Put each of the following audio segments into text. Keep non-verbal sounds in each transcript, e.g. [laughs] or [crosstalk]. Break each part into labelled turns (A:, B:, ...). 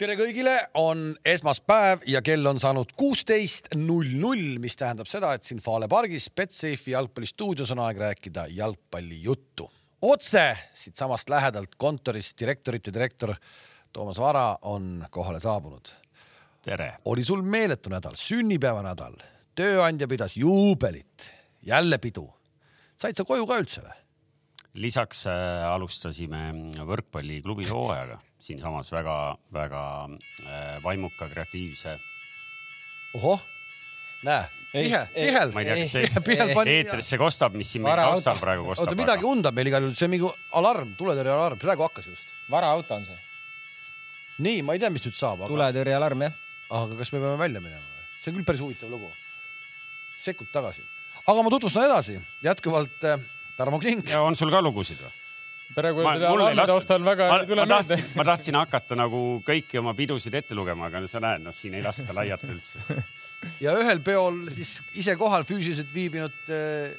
A: tere kõigile , on esmaspäev ja kell on saanud kuusteist null null , mis tähendab seda , et siin Fale pargis Betsafe jalgpallistuudios on aeg rääkida jalgpallijuttu . otse siitsamast lähedalt kontorist direktorite direktor Toomas Vara on kohale saabunud .
B: tere .
A: oli sul meeletu nädal , sünnipäevanädal , tööandja pidas juubelit , jälle pidu . said sa koju ka üldse või ?
B: lisaks äh, alustasime võrkpalliklubis hooajaga siinsamas väga-väga äh, vaimuka kreatiivse .
A: ohoh , näe ,
C: Ei,
A: tihe ,
C: ei,
A: tihel
B: ma ei tea , kas
A: Ja peal
B: see
A: pani-
B: e-, eetrisse kostab , mis siin meil
C: Vara
B: taustal
C: auto.
B: praegu kostab .
A: oota , midagi undab meil igal juhul , see on mingi alarm , tuletõrjealarm , praegu hakkas just .
C: varaauto on see .
A: nii , ma ei tea , mis nüüd saab , aga ,
C: tuletõrjealarm jah .
A: aga kas me peame välja minema või ? see on küll päris huvitav lugu . sekund tagasi , aga ma tutvustan edasi , jätkuvalt äh, Tarmo Klink .
B: ja on sul ka lugusid või ?
D: praegu alarmi taustal väga
B: ma,
D: ei tule
B: ma
D: meelde
B: tahtsin , ma tahtsin hakata nagu kõiki oma pidusid ette lugema , aga no sa näed , noh , siin ei lasta laiata üldse .
D: [laughs]
A: ja ühel peol siis ise kohal füüsiliselt viibinud äh,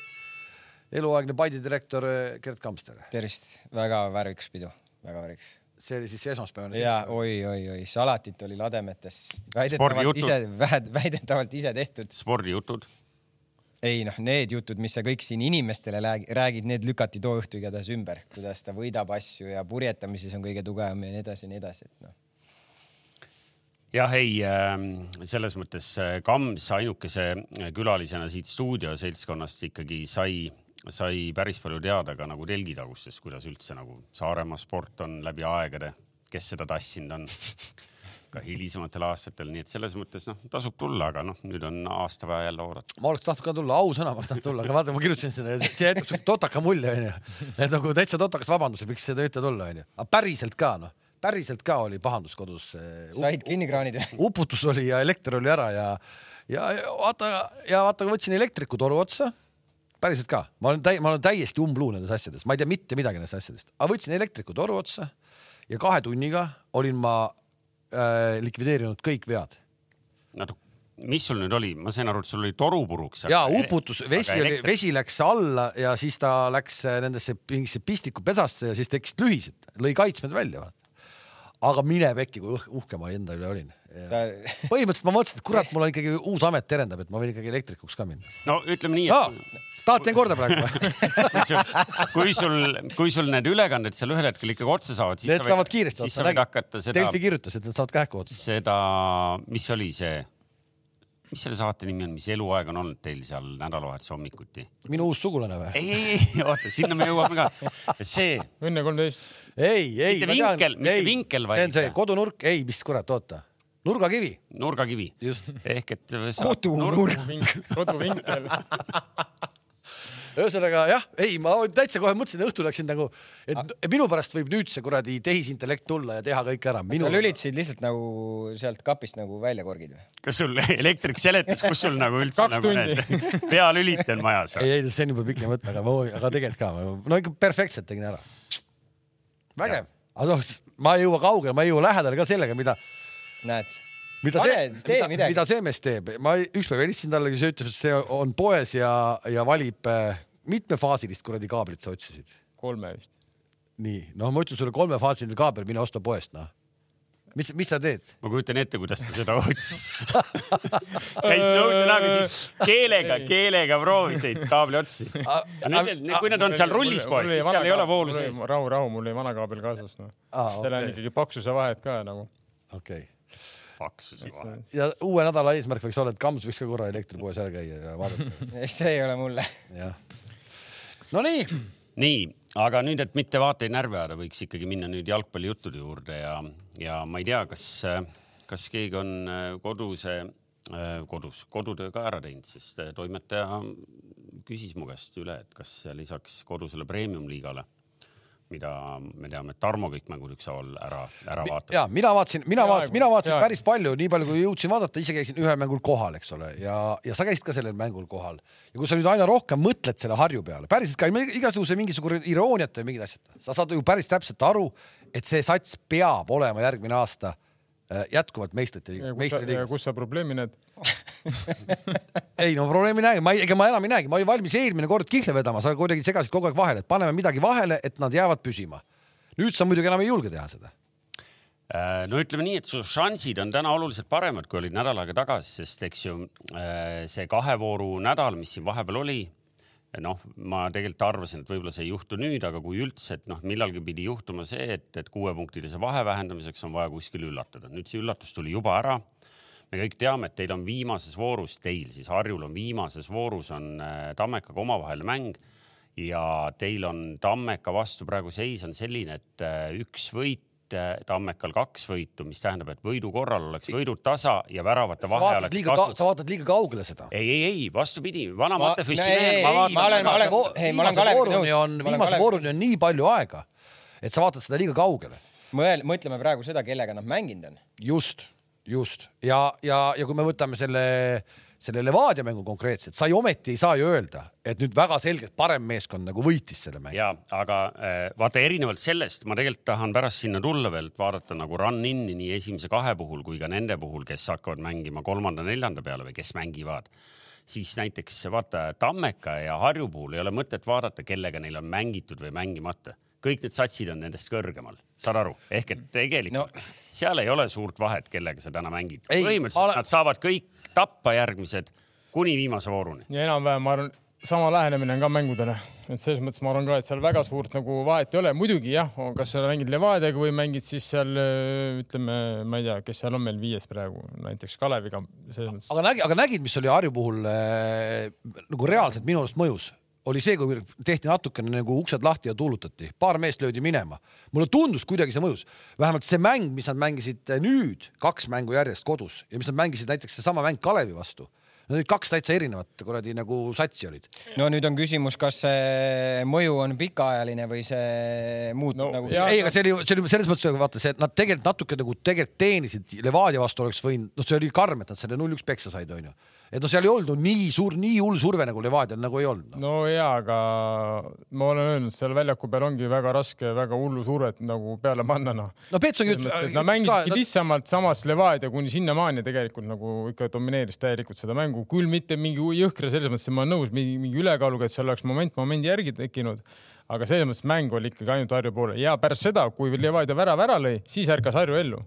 A: eluaegne Paide direktor äh, Gerd Kamster .
C: tervist , väga värvikas pidu , väga värvikas .
A: see oli siis esmaspäevane .
C: ja oi-oi-oi , salatit oli lademetes .
B: Spordijutud.
C: väidetavalt ise , väidetavalt ise tehtud .
B: spordijutud ,
C: ei noh , need jutud , mis sa kõik siin inimestele lää- räägid , need lükati too õhtu igatahes ümber , kuidas ta võidab asju ja purjetamises on kõige tugevam ja nii edasi ja nii edasi , et noh .
B: jah , ei ähm, selles mõttes äh, Kams ainukese äh, külalisena siit stuudioseltskonnast ikkagi sai , sai päris palju teada ka nagu telgitagustest , kuidas üldse nagu Saaremaa sport on läbi aegade , kes seda tassinud on ka hilisematel aastatel , nii et selles mõttes noh , tasub tulla , aga noh , nüüd on aasta vaja jälle oodata .
A: ma oleks tahtnud ka tulla , ausõna ma oleks tahtnud tulla , aga vaata , ma kirjutasin seda ja see jätab siukse totaka mulje onju . et nagu täitsa totakas vabandus , miks te võite tulla onju . aga päriselt ka noh , päriselt ka oli pahandus kodus .
C: said kinni kraanid või ?
A: uputus oli ja elekter oli ära ja , ja ja vaata ja vaata , ma võtsin elektrikutoru otsa . päriselt ka , ma olen täi- , ma olen täiesti umbluu nendes asjades , ma ei tea mitte midagi nendest asjadest , aga võtsin elektrikutoru otsa ja kahe tunniga olin ma äh, likvideerinud kõik vead
B: no mis sul nüüd oli , ma sain aru , et sul oli toru puruks .
A: ja uputus , vesi oli , vesi läks alla ja siis ta läks äh, nendesse mingisse pistikupesasse ja siis tekkisid lühised , lõi kaitsmed välja vaata . aga mine pekki , kui õh- uhke ma enda üle olin .
C: sa
A: põhimõtteliselt ma mõtlesin , et kurat , mul on ikkagi uus amet terendab , et ma võin ikkagi elektrikuks ka minna .
B: no ütleme nii , et
A: tahad , teen korda praegu
B: [laughs]
A: või ?
B: kui sul- kui sul , kui sul need ülekanded seal ühel hetkel ikkagi otsa saavad , siis
A: Need saavad kiiresti
B: siis
A: otsa,
B: sa võid
A: nägid?
B: hakata seda ,
A: Delfi kirjutas , et nad saavad kähku otsa .
B: seda , mis oli see , mis selle saate nimi on , mis eluaeg on olnud teil seal nädalavahetuse hommikuti ?
A: minu uus sugulane või ?
B: ei , ei , ei , oota , sinna me jõuame ka . see ,
D: Õnne kolmteist .
A: ei , ei .
B: Mitte vinkel, mitte vinkel, vaid-
A: see on see kodunurk , ei , mis kurat , oota . nurgakivi ,
B: nurgakivi
A: just .
B: ehk et .
C: kodunurk .
D: koduvinkel .
A: ühesõnaga jah , ei , ma täitsa kohe mõtlesin , õhtul läksin nagu ,
C: Ah.
A: et minu pärast võib nüüd see kuradi tehisintellekt tulla ja teha kõik ära .
C: sa lülitasid lihtsalt nagu sealt kapist nagu välja korgid või ?
B: kas sul elektrik seletas , kus sul nagu üldse
D: Kaks
B: nagu need pealüliti on majas või ?
A: ei , ei see on juba pikem mõte , aga ma , aga tegelikult ka , no ikka perfektselt tegin ära . vägev , aga noh , ma ei jõua kaugele , ma ei jõua lähedale ka sellega , mida ,
C: näed ?
A: mida see
C: Pane, , tee
A: mida,
C: midagi.
A: mida see mees teeb , ma ükspäev helistasin talle , kes ütles , et see on poes ja , ja valib äh, mitmefaasilist kuradi kaablit sa otsisid .
D: kolme vist .
A: nii , noh , ma ütlen sulle kolmefaasiline kaabel , mine osta poest , noh . mis , mis sa teed ?
B: ma kujutan ette , kuidas ta seda otsis . [laughs] käis nõude näoga , siis keelega , keelega proovis neid kaabli otsi . kui nad on seal rullis poes , siis seal ei ole voolu sees .
D: rahu , rahu , mul oli vana kaabel kaasas no. .
A: Aa,
D: seal on
A: okei.
D: ikkagi paksuse vahed ka nagu .
A: okei okay. .
B: paksuse kohe .
A: ja uue nädala eesmärk võiks olla , et Kams võiks ka korra elektripoes ära käia ja vaadata , [laughs]
C: [laughs] see ei ole mulle .
A: jah . Nonii ,
B: nii , aga nüüd , et mitte vaateid närvi ajada , võiks ikkagi minna nüüd jalgpallijuttude juurde ja , ja ma ei tea , kas , kas keegi on äh, koduse , kodus kodutöö ka ära teinud , sest äh, toimetaja küsis mu käest üle , et kas lisaks kodusele premium-liigale , mida me teame , et Tarmo kõik mängud ükshaaval ära , ära vaatab .
A: ja mina vaatasin , mina
D: Peaaegu,
A: vaatasin , mina vaatasin
D: peaaegu.
A: päris palju , nii palju kui jõudsin vaadata , ise käisin ühel mängul kohal , eks ole , ja , ja sa käisid ka sellel mängul kohal ja kui sa nüüd aina rohkem mõtled selle Harju peale , päriselt ka ilma igasuguse mingisugune irooniat või mingid asjad , sa saad ju päris täpselt aru , et see sats peab olema järgmine aasta äh, jätkuvalt meistrite , meistriliigas .
D: kus sa probleemi näed ?
A: ei no probleemi ei näe , ma ei- ega ma enam ei näegi , ma olin valmis eelmine kord kihle vedama , sa kuidagi segasid kogu aeg vahele , et paneme midagi vahele , et nad jäävad püsima . nüüd sa muidugi enam ei julge teha seda .
B: Äh, no ütleme nii , et su šansid on täna oluliselt paremad , kui olid nädal aega tagasi , sest eks ju äh, see kahe vooru nädal , mis siin vahepeal oli , noh , ma tegelikult arvasin , et võib-olla see ei juhtu nüüd , aga kui üldse , et noh , millalgi pidi juhtuma see , et , et kuuepunktilise vahe vähendamiseks on vaja kuskil üllatada . nüüd see üllatus tuli juba ära . me kõik teame , et teil on viimases voorus , teil siis Harjul on viimases voorus on äh, Tammekaga omavaheline mäng ja teil on Tammeka vastu praegu seis on selline , et äh, üks võit , Tammekal kaks võitu , mis tähendab , et võidu korral oleks võidud tasa ja väravate
A: sa
B: vahe
A: vaatad
B: oleks
A: liiga ,
B: kasvanud .
A: sa vaatad liiga kaugele seda .
B: ei , ei , ei vastupidi , vana
C: Ma-
B: Matefiši
C: no ei,
B: mehel ma
C: ei, ei,
B: vaatan .
C: ma olen- ma olen ko- Ei, ma olen Kaleviga nõus.
A: on ,
C: Ma olen
A: viimase
C: Kaleviga-
A: vooruni on nii palju aega , et sa vaatad seda liiga kaugele .
C: mõel- , mõtleme praegu seda , kellega nad mänginud on .
A: just , just ja , ja , ja kui me võtame selle , selle Levadia mängu konkreetselt , sa ju ometi ei saa ju öelda , et nüüd väga selgelt parem meeskond nagu võitis selle mängu .
B: ja aga äh, vaata , erinevalt sellest ma tegelikult tahan pärast sinna tulla veel , et vaadata nagu run-in'i nii esimese kahe puhul kui ka nende puhul , kes hakkavad mängima kolmanda-neljanda peale või kes mängivad . siis näiteks vaata Tammeka ja Harju puhul ei ole mõtet vaadata , kellega neil on mängitud või mängimata . kõik need satsid on nendest kõrgemal , saad aru , ehk et tegelikult no. seal ei ole suurt vahet , kellega sa täna mängid .
A: Ei,
B: põhimõtteliselt
A: ma
B: ole...
A: olen-
B: nad saavad kõik tappa järgmised kuni viimase vooruni .
D: ja enam-vähem ma arvan , sama lähenemine on ka mängudele , et selles mõttes ma arvan ka , et seal väga suurt nagu vahet ei ole , muidugi jah , kas sa mängid Levadiaga või mängid siis seal öö, ütleme , ma ei tea , kes seal on meil viies praegu , näiteks Kaleviga , selles mõttes .
A: aga nägi , aga nägid , mis oli Harju puhul äh, nagu reaalselt minu arust mõjus ? oli see , kui tehti natukene nagu uksed lahti ja tuulutati , paar meest löödi minema . mulle tundus , kuidagi see mõjus , vähemalt see mäng , mis nad mängisid äh, nüüd kaks mängu järjest kodus ja mis nad mängisid näiteks seesama mäng Kalevi vastu . Need olid kaks täitsa erinevat kuradi nagu satsi olid .
C: no nüüd on küsimus , kas see mõju on pikaajaline või see muutub
D: No,
C: no, nagu
D: jah. .
A: ei , aga see oli , see oli selles mõttes , vaata see , et nad tegelikult natuke nagu tegelikult teenisid Levadia vastu oleks võinud , noh , see oli karm , et nad selle null-üks peksa said , onju . et noh , seal ei olnud nii suur , nii hull surve nagu Levadial nagu ei olnud no. .
D: no ja , aga ma olen öelnud , seal väljaku peal ongi väga raske väga hullu survet nagu peale panna , noh .
A: no Petsogi
D: selles mõttes , et nad mängisidki lihtsamalt , samas Levadia kuni sinnamaani tegelikult nagu ikka domineeris täielikult seda mängu , küll mitte mingi jõhkra , selles mõttes et ma olen nõus , mingi , mingi ülekaaluga , et seal oleks moment momendi järgi tekkinud , aga selles mõttes mäng oli ikkagi ainult Harju poole ja pärast seda , kui Levadia värav ära lõi , siis ärkas Harju ellu .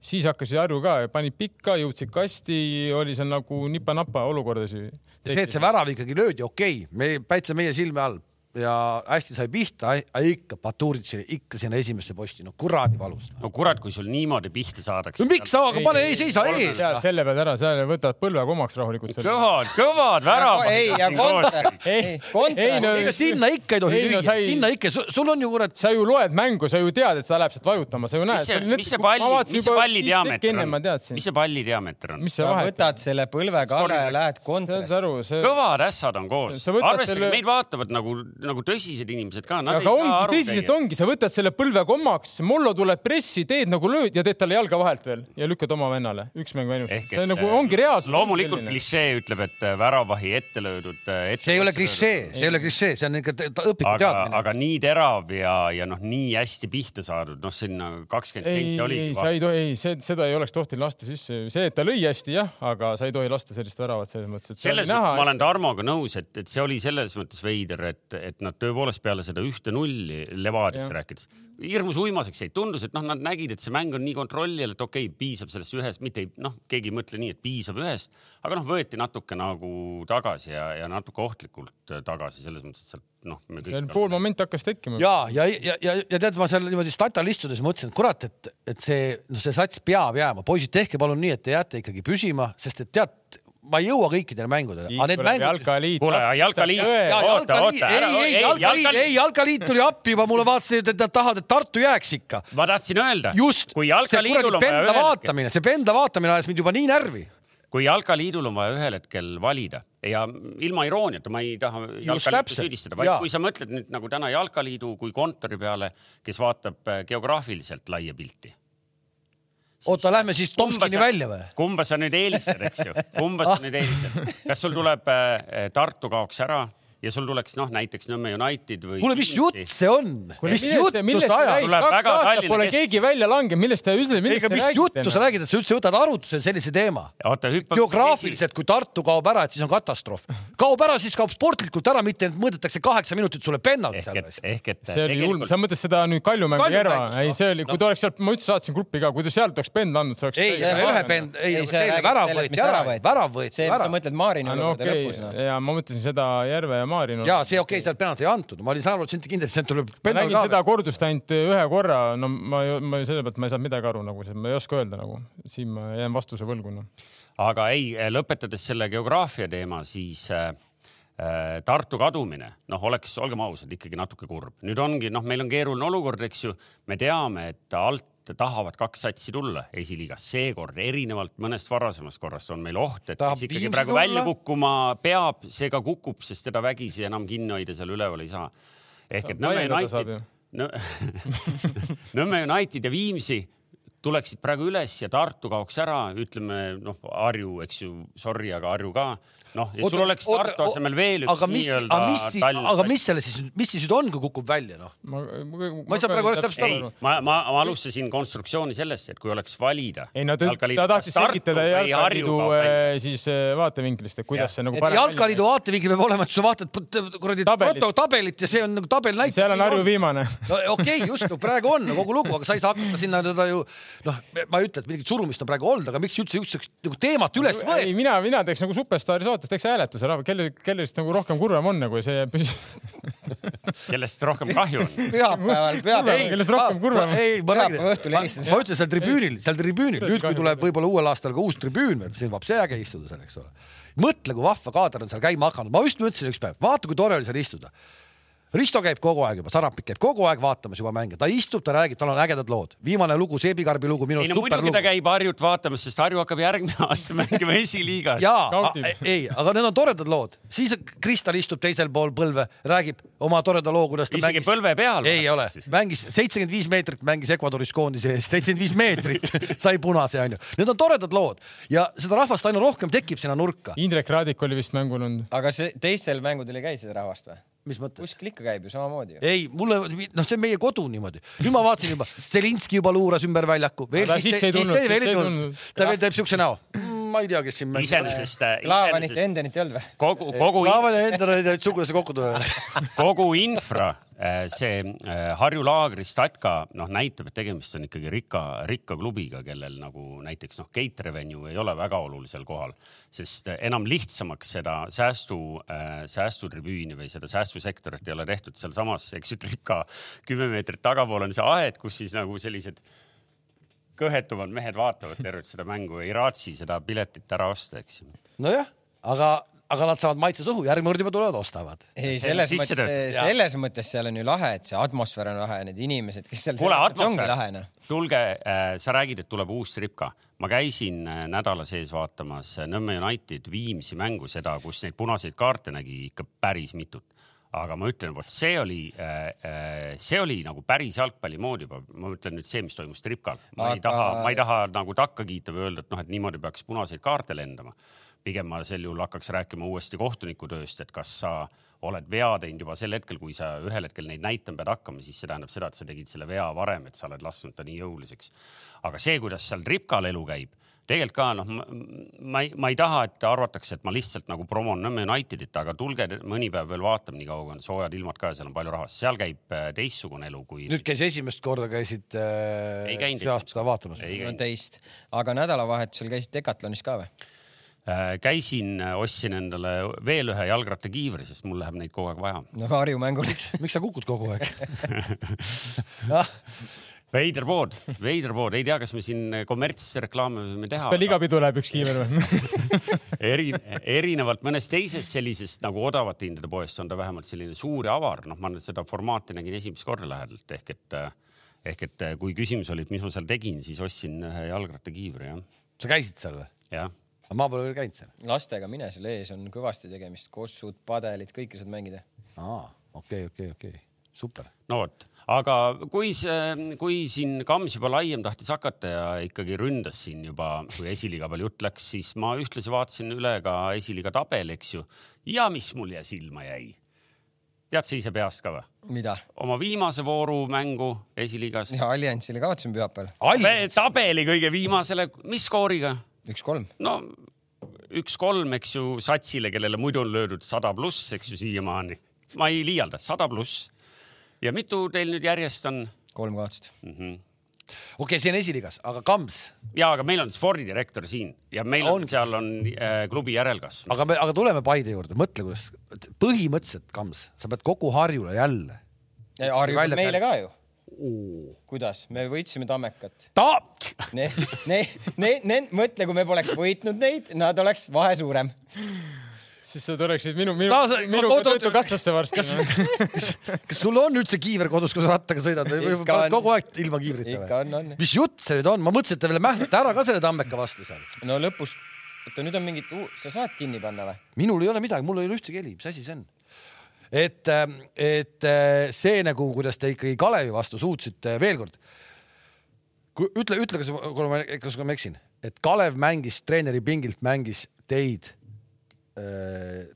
D: siis hakkasid Harju ka , panid pikka , jõudsid kasti , oli seal nagu nipa-napa olukordasid .
A: Ja see , et see värav ikkagi löödi , okei okay, , me täitsa meie silme all ja hästi sai pihta , aga ikka Baturitšile ikka sinna esimesse posti , no kuradi valus .
B: no kurat , kui sul niimoodi pihta saadakse
A: no . miks , no aga pane , ei seisa
D: Seal-
A: ees .
D: selle pead ära , seal võtavad põlve komaks rahulikult .
B: kõvad , kõvad väravad .
C: ei , ja kontor , ei
D: Ei, , ei,
C: kontor
D: no- .
A: ega sinna ikka ei tohi
D: Ei, no
A: lüüa
D: sa , ei-
A: sinna ikka , sul on ju kurat ,
D: sa ju loed mängu , sa ju tead , et sa läheb sealt vajutama , sa ju näed .
B: mis see , mis see palli , mis see palli diameeter
D: enne
B: on
D: ma teadsin . ,
B: mis see palli diameeter on ?
D: mis see
C: sa
D: vahet on ?
C: võtad selle põlve kala ja lähed
D: saad
C: kontorisse .
D: aru , see ,
B: kõvad ässad on koos ,
D: Sa võtad
B: arvestage selle... ,
D: selle-
B: meid vaatavad nagu , nagu tõsised inimesed ka , nad
D: aga
B: ei saa
D: ongi ,
B: aru
D: tõsiselt . ongi , sa võtad selle põlve kommaks , Mollo tuleb pressi , teed nagu lööd ja teed talle jalga vahelt veel ja lükkad oma vennale , üks mäng ainult .
B: ehk
D: see
B: et äh,
D: nagu ongi reaalsus .
B: loomulikult . klišee ütleb , et äh, väravahi ette löödud .
A: see ei ole klišee , see ei ole klišee , see on ikka te- ta- õpiku
B: aga ,
A: teadmine .
B: aga nii terav ja , ja noh , nii hästi pihta saadud , noh , sinna kakskümmend
D: ei ,
B: senti
D: ei , sa
B: oligi .
D: ei tohi , ei , see , seda ei oleks tohtinud lasta sisse , see , et ta lõi hästi jah , aga sa ei tohi lasta sellist väravat selles mõttes , et see
B: selles
D: oli
B: mõttes ma
D: näha ,
B: olen Tarmoga nõus , et , et see oli selles mõttes veider , et , et nad tõepoolest peale seda ühte nulli Levadiast rääkides hirmus uimaseks jäid , tundus , et noh , nad nägid , et see mäng on nii kontrolli all , et okei okay, , piisab sellest ühest , mitte ei noh , keegi ei mõtle nii , et piisab ühest , aga noh , võeti natuke nagu tagasi ja , ja natuke ohtlikult tagasi selles mõttes , et sealt noh .
D: seal pool momenti hakkas tekkima .
A: ja , ja , ja , ja , ja tead , ma seal niimoodi statal istudes mõtlesin , et kurat , et , et see , noh , see sats peab jääma , poisid , tehke palun nii , et te jääte ikkagi püsima , sest et tead , ma ei jõua kõikidele mängudele , aga need mängud .
D: jalkaliit .
B: kuule , jalkaliit ,
A: ja
B: oota ,
A: jalkaliit ,
B: oota , ära ,
A: ei , ei , jalkaliit , ei , jalkaliit tuli appi juba mulle , vaatasin , et et nad tahavad , et Tartu jääks ikka .
B: ma tahtsin öelda ,
A: just ,
B: kui
A: see
B: jalkaliidul
A: kuradi
B: on vaja
A: penda
B: ühel hetkel
A: vaatamine , see penda vaatamine ajas mind juba nii närvi .
B: kui jalkaliidul on vaja ühel hetkel valida ja ilma irooniata , ma ei taha jalkaliitu
A: täpselt,
B: süüdistada , vaid
A: jaa.
B: kui sa mõtled nüüd nagu täna jalkaliidu kui kontori peale , kes vaatab eh, geograafiliselt laia pilti .
A: oota , lähme siis Tomskini välja või ??
B: kumba sa nüüd eelistad , eks ju , kumba sa nüüd eelistad , kas sul tuleb eh, äh, Tartu kaoks ära ja sul tuleks noh , näiteks Nõmme United või .
A: kuule , mis jutt see on ? mis juttu sa ajad ?
B: Tuleb
D: kaks
B: väga
D: aastat
B: Tallinna
D: pole
B: kestis.
D: keegi välja langenud , millest te üldse , millest
A: ega
D: te
A: mis juttu sa
D: räägite ?
A: räägid , et sa üldse võtad arutlusele sellise teema ?
B: Oota, hüppame
A: geograafiliselt , kui Tartu kaob ära , et siis on katastroof . kaob ära , siis kaob sportlikult ära , mitte et mõõdetakse kaheksa minutit sulle pennalt seal
B: ehk et ,
A: vist .
B: ehk et .
D: see oli julm , sa mõtled seda nüüd Kaljumängu
A: Kaljumängus,
D: Järva , ei
A: noh.
D: see oli , kui ta oleks sealt , ma üldse saatsin gruppi ka , kui ta sealt oleks pend andnud , see oleks .
A: ei ,
C: see-
A: ühe pend , ei ,
C: sa
A: see
C: räägid
A: värav
C: sellest, mis
A: võeti ära , värav võeti
C: see ,
A: ära
C: sa . mõtled Maarini
D: no
C: olukorda
D: okei
C: lõpus , noh .
D: ja ma mõtlesin seda Järve ja Maarinu .
A: ja see okei okay, , sealt penalt ei antud , ma olin saanud sind kindlasti , sealt tuleb
D: ma
A: penalt
D: nägin seda
A: ka .
D: kordust ainult ühe korra , no ma , ma selle pealt ma ei saanud midagi aru nagu , ma ei oska öelda nagu , siin ma jään vastuse võlgu noh .
B: aga ei , lõpetades selle geograafia teema , siis äh, äh, Tartu kadumine , noh , oleks , olgem ausad , ikkagi natuke kurb . nüüd ongi , noh , meil on keeruline olukord , eks ju , me teame , et alt tahavad kaks satsi tulla esiliigas , seekord erinevalt mõnest varasemast korrast on meil oht , et
A: Tahab
B: kes ikkagi
A: Viimsi
B: praegu
A: tulla?
B: välja kukkuma peab , see ka kukub , sest teda vägisi enam kinni hoida seal üleval ei saa . ehk et Nõmme
D: laiendada saab
B: United
D: ju. ,
B: [laughs] Nõmme United ja Viimsi tuleksid praegu üles ja Tartu kaoks ära , ütleme noh , Harju , eks ju , sorry , aga Harju ka . noh , ja sul oleks Tartu asemel veel üks nii-öelda Tallinn .
A: aga mis selle siis , mis siis nüüd on , kui kukub välja noh ?
D: ma, ma,
A: Ma ei saa praegu täpselt
B: ei , ma , ma , ma alustasin konstruktsiooni sellest , et kui oleks valida .
D: ei no ta, ta tahtis selgitada jalgpalliliidu eh, siis eh, vaatevinklist , et
B: Jah.
D: kuidas see nagu
A: et jalgpalliliidu vaatevinkel peab olema , et sa vaatad put- kuradi
D: Tabelist.
A: proto- tabelit ja see on nagu tabel näitab .
D: seal on Harju . viimane .
A: no eh, okei okay, , just no, praegu on no, kogu lugu , aga sa ei saa hakata sinna teda ju noh , ma ei ütle , et mingit surumist on praegu olnud , aga miks üldse sihukest nagu teemat üles
D: ei ,
A: võeti ?
D: mina , mina teeks nagu Superstaari saates teeks hääletuse ära , kelle , kellest nagu rohkem kurvem on nagu ja see [laughs] jääb püsi- .
B: kellest rohkem kahju on .
A: [laughs]
C: pühapäeval , pühapäeval .
D: Kellest rohkem kurvem on.
A: ei , ma räägin ,
C: Pühapäeva õhtul
A: ma,
C: helistad.
A: ma ütlen seal tribüünil , seal tribüünil , nüüd kui
D: kahju
A: tuleb võib-olla uuel aastal ka uus tribüün veel , siis saab see äge istuda seal , eks ole . mõtle , kui vahva kaader on seal käima hakanud , ma just mõtlesin üks päev , vaata , kui tore oli seal istuda . Risto käib kogu aeg juba , Sarapik käib kogu aeg vaatamas juba mänge , ta istub , ta räägib , tal on ägedad lood , viimane lugu , Seebikarbi lugu , minu
B: ei
A: arust
B: no muidugi
A: superlugu
B: ta käib Harjut vaatamas , sest Harju hakkab järgmine [laughs] aasta mängima esiliigas .
A: jaa
D: Nautib. ,
A: ei , aga need on toredad lood , siis Kristal istub teisel pool põlve , räägib oma toreda loo , kuidas ta
B: Isegi
A: mängis .
B: põlve peal
A: ei
B: või?
A: ole , mängis seitsekümmend viis meetrit , mängis Ecuadoris koondise ees , seitsekümmend viis meetrit [laughs] sai punase , onju . Need on toredad lood ja seda rahvast aina rohkem tekib sinna nurka .
D: Indrek Raadik oli vist mängul olnud .
C: aga see teistel mängudel ei käi seda rahvast või ?
A: mis mõttes ?
C: kuskil ikka käib ju samamoodi ju .
A: ei , mulle , noh , see on meie kodu niimoodi . nüüd ma vaatasin juba , Zelinski juba luuras ümber väljaku .
D: Aga sisse ei tulnud,
A: veel
D: sisse
A: ei
D: ei
A: tulnud
D: tulnud. .
A: ta veel teeb siukse näo . ma ei tea , kes siin mängib .
B: iseenesest ,
C: Klaavanit ja
B: iseenesest
C: Endenit ei olnud või ?
B: kogu , kogu ,
A: Laevale endale ei tea , et sugulasse kokku tuleb .
B: kogu infra , see eh, Harju laagri statka , noh , näitab , et tegemist on ikkagi rikka , rikka klubiga , kellel nagu näiteks noh , gate revenue ei ole väga olulisel kohal , sest äh, enam lihtsamaks seda säästu , säästutribüüni või seda säästusektorit ei ole tehtud sealsamas , eks ju , rikka kümme meetrit tagapool on see aed , kus siis nagu sellised kõhetumad mehed vaatavad tervet seda mängu ja ei raatsi seda piletit ära osta , eks ju .
A: nojah , aga , aga nad saavad maitse suhu , järgmine kord juba tulevad , ostavad .
C: ei , selles
B: sisse
C: mõttes
B: töötab, , jah.
C: selles mõttes seal on ju lahe , et see atmosfäär on lahe , need inimesed , kes seal .
B: kuule ,
C: ongi lahe
B: atmosfäär
C: noh .,
B: tulge , sa räägid , et tuleb uus tripka . ma käisin äh, nädala sees vaatamas äh, Nõmme United Viimsi mängu , seda , kus neid punaseid kaarte nägi ikka päris mitut . aga ma ütlen , vot see oli , see oli nagu päris jalgpalli moodi juba , ma ütlen nüüd see , mis toimus tripkal . ma ei
C: Aga-
B: taha , ma ei taha nagu takka kiita või öelda , et noh , et niimoodi peaks punaseid kaarte lendama . pigem ma sel juhul hakkaks rääkima uuesti kohtunikutööst , et kas sa oled vea teinud juba sel hetkel , kui sa ühel hetkel neid näitama pead hakkama , siis see tähendab seda , et sa tegid selle vea varem , et sa oled lasknud ta nii jõuliseks . aga see , kuidas seal tripkal elu käib , tegelikult ka noh , ma ei , ma ei taha , et arvatakse , et ma lihtsalt nagu promon Nõmme Unitedit , aga tulge te- mõni päev veel vaatame , nii kaua kui on soojad ilmad ka ja seal on palju rahvast , seal käib äh, teistsugune elu kui .
A: nüüd käis esimest korda , käisid äh,
B: Ei käinud
A: see aasta vaatamas .
B: Ei
C: no teist , aga nädalavahetusel käisid Decathlonis ka või ?
B: Äh, käisin , ostsin endale veel ühe jalgrattakiivri , sest mul läheb neid kogu aeg vaja .
C: no Harju mängul .
A: miks sa kukud kogu aeg ?
B: veider pood , veider pood , ei tea , kas me siin äh, kommertsreklaame võime teha .
D: peal iga pidu läheb üks kiiver või ? [laughs]
B: eri , erinevalt mõnest teisest sellisest nagu odavate hindade poest on ta vähemalt selline suur ja avar , noh , ma nüüd seda formaati nägin esimest korda lähedalt ehk et äh, ehk et äh, kui küsimus oli , et mis ma seal tegin , siis ostsin ühe jalgrattakiivri jah ,
A: sa käisid seal või ?
B: jah .
A: ma pole veel käinud seal .
C: [laughs] lastega mine seal ees on kõvasti tegemist , kossud , padelid , kõike saad mängida .
A: aa , okei , okei , okei , super .
B: no vot , aga kui see , kui siin Kams juba laiem tahtis hakata ja ikkagi ründas siin juba , kui esiliiga peal jutt läks , siis ma ühtlasi vaatasin üle ka esiliiga tabel , eks ju . ja mis mul jäi silma jäi ? tead sa ise peast ka või ?
C: mida ?
B: oma viimase vooru mängu esiliigas .
C: ja Alliansile kaotasime pühapäeval ,
B: tabeli kõige viimasele , mis skooriga ?
C: üks-kolm .
B: no üks-kolm , eks ju , satsile , kellele muidu on löödud sada pluss , eks ju , siiamaani . ma ei liialda , sada pluss . ja mitu teil nüüd järjest on ?
C: kolm kaotust .
A: okei , see on esiliigas , aga Kams ,
B: ja , aga meil on spordidirektor siin ja meil on,
A: On.
B: on. seal on äh, klubi järelkasv .
A: aga me , aga tuleme Paide juurde , mõtle , kuidas , põhimõtteliselt Kams , sa pead kogu Harjule jälle .
C: Harju
A: Välja
C: peab meile ka
A: käis.
C: ju . kuidas , me võitsime Tammekat .
A: ta ,
C: Ne- , ne- , ne- , ne- , mõtle , kui me poleks võitnud neid , nad oleks vahe suurem .
D: siis sa tuleksid minu , minu
A: Sa- sa- ,
D: minu
A: oot- oot-
D: töötukassasse varsti . noh.
A: kas sul on üldse kiiver kodus , kui sa rattaga sõidad või või
C: Ikka
A: paned
C: on.
A: kogu aeg ilma kiivrita
C: ikka
A: või ?
C: on , on .
A: mis jutt see nüüd on , ma mõtlesin , et te veel mähklete ära ka selle Tammeka vastu seal .
C: no lõpus , oota nüüd on mingid , sa saad kinni panna või ?
A: minul ei ole midagi , mul ei ole ühtegi heli , mis asi see on ? et , et äh, see nagu , kuidas te ikkagi Kalevi vastu suutsite , veel kord . kui ütle , ütle , kas , kas ma eksin , et Kalev mängis treeneri pingilt , mängis teid ,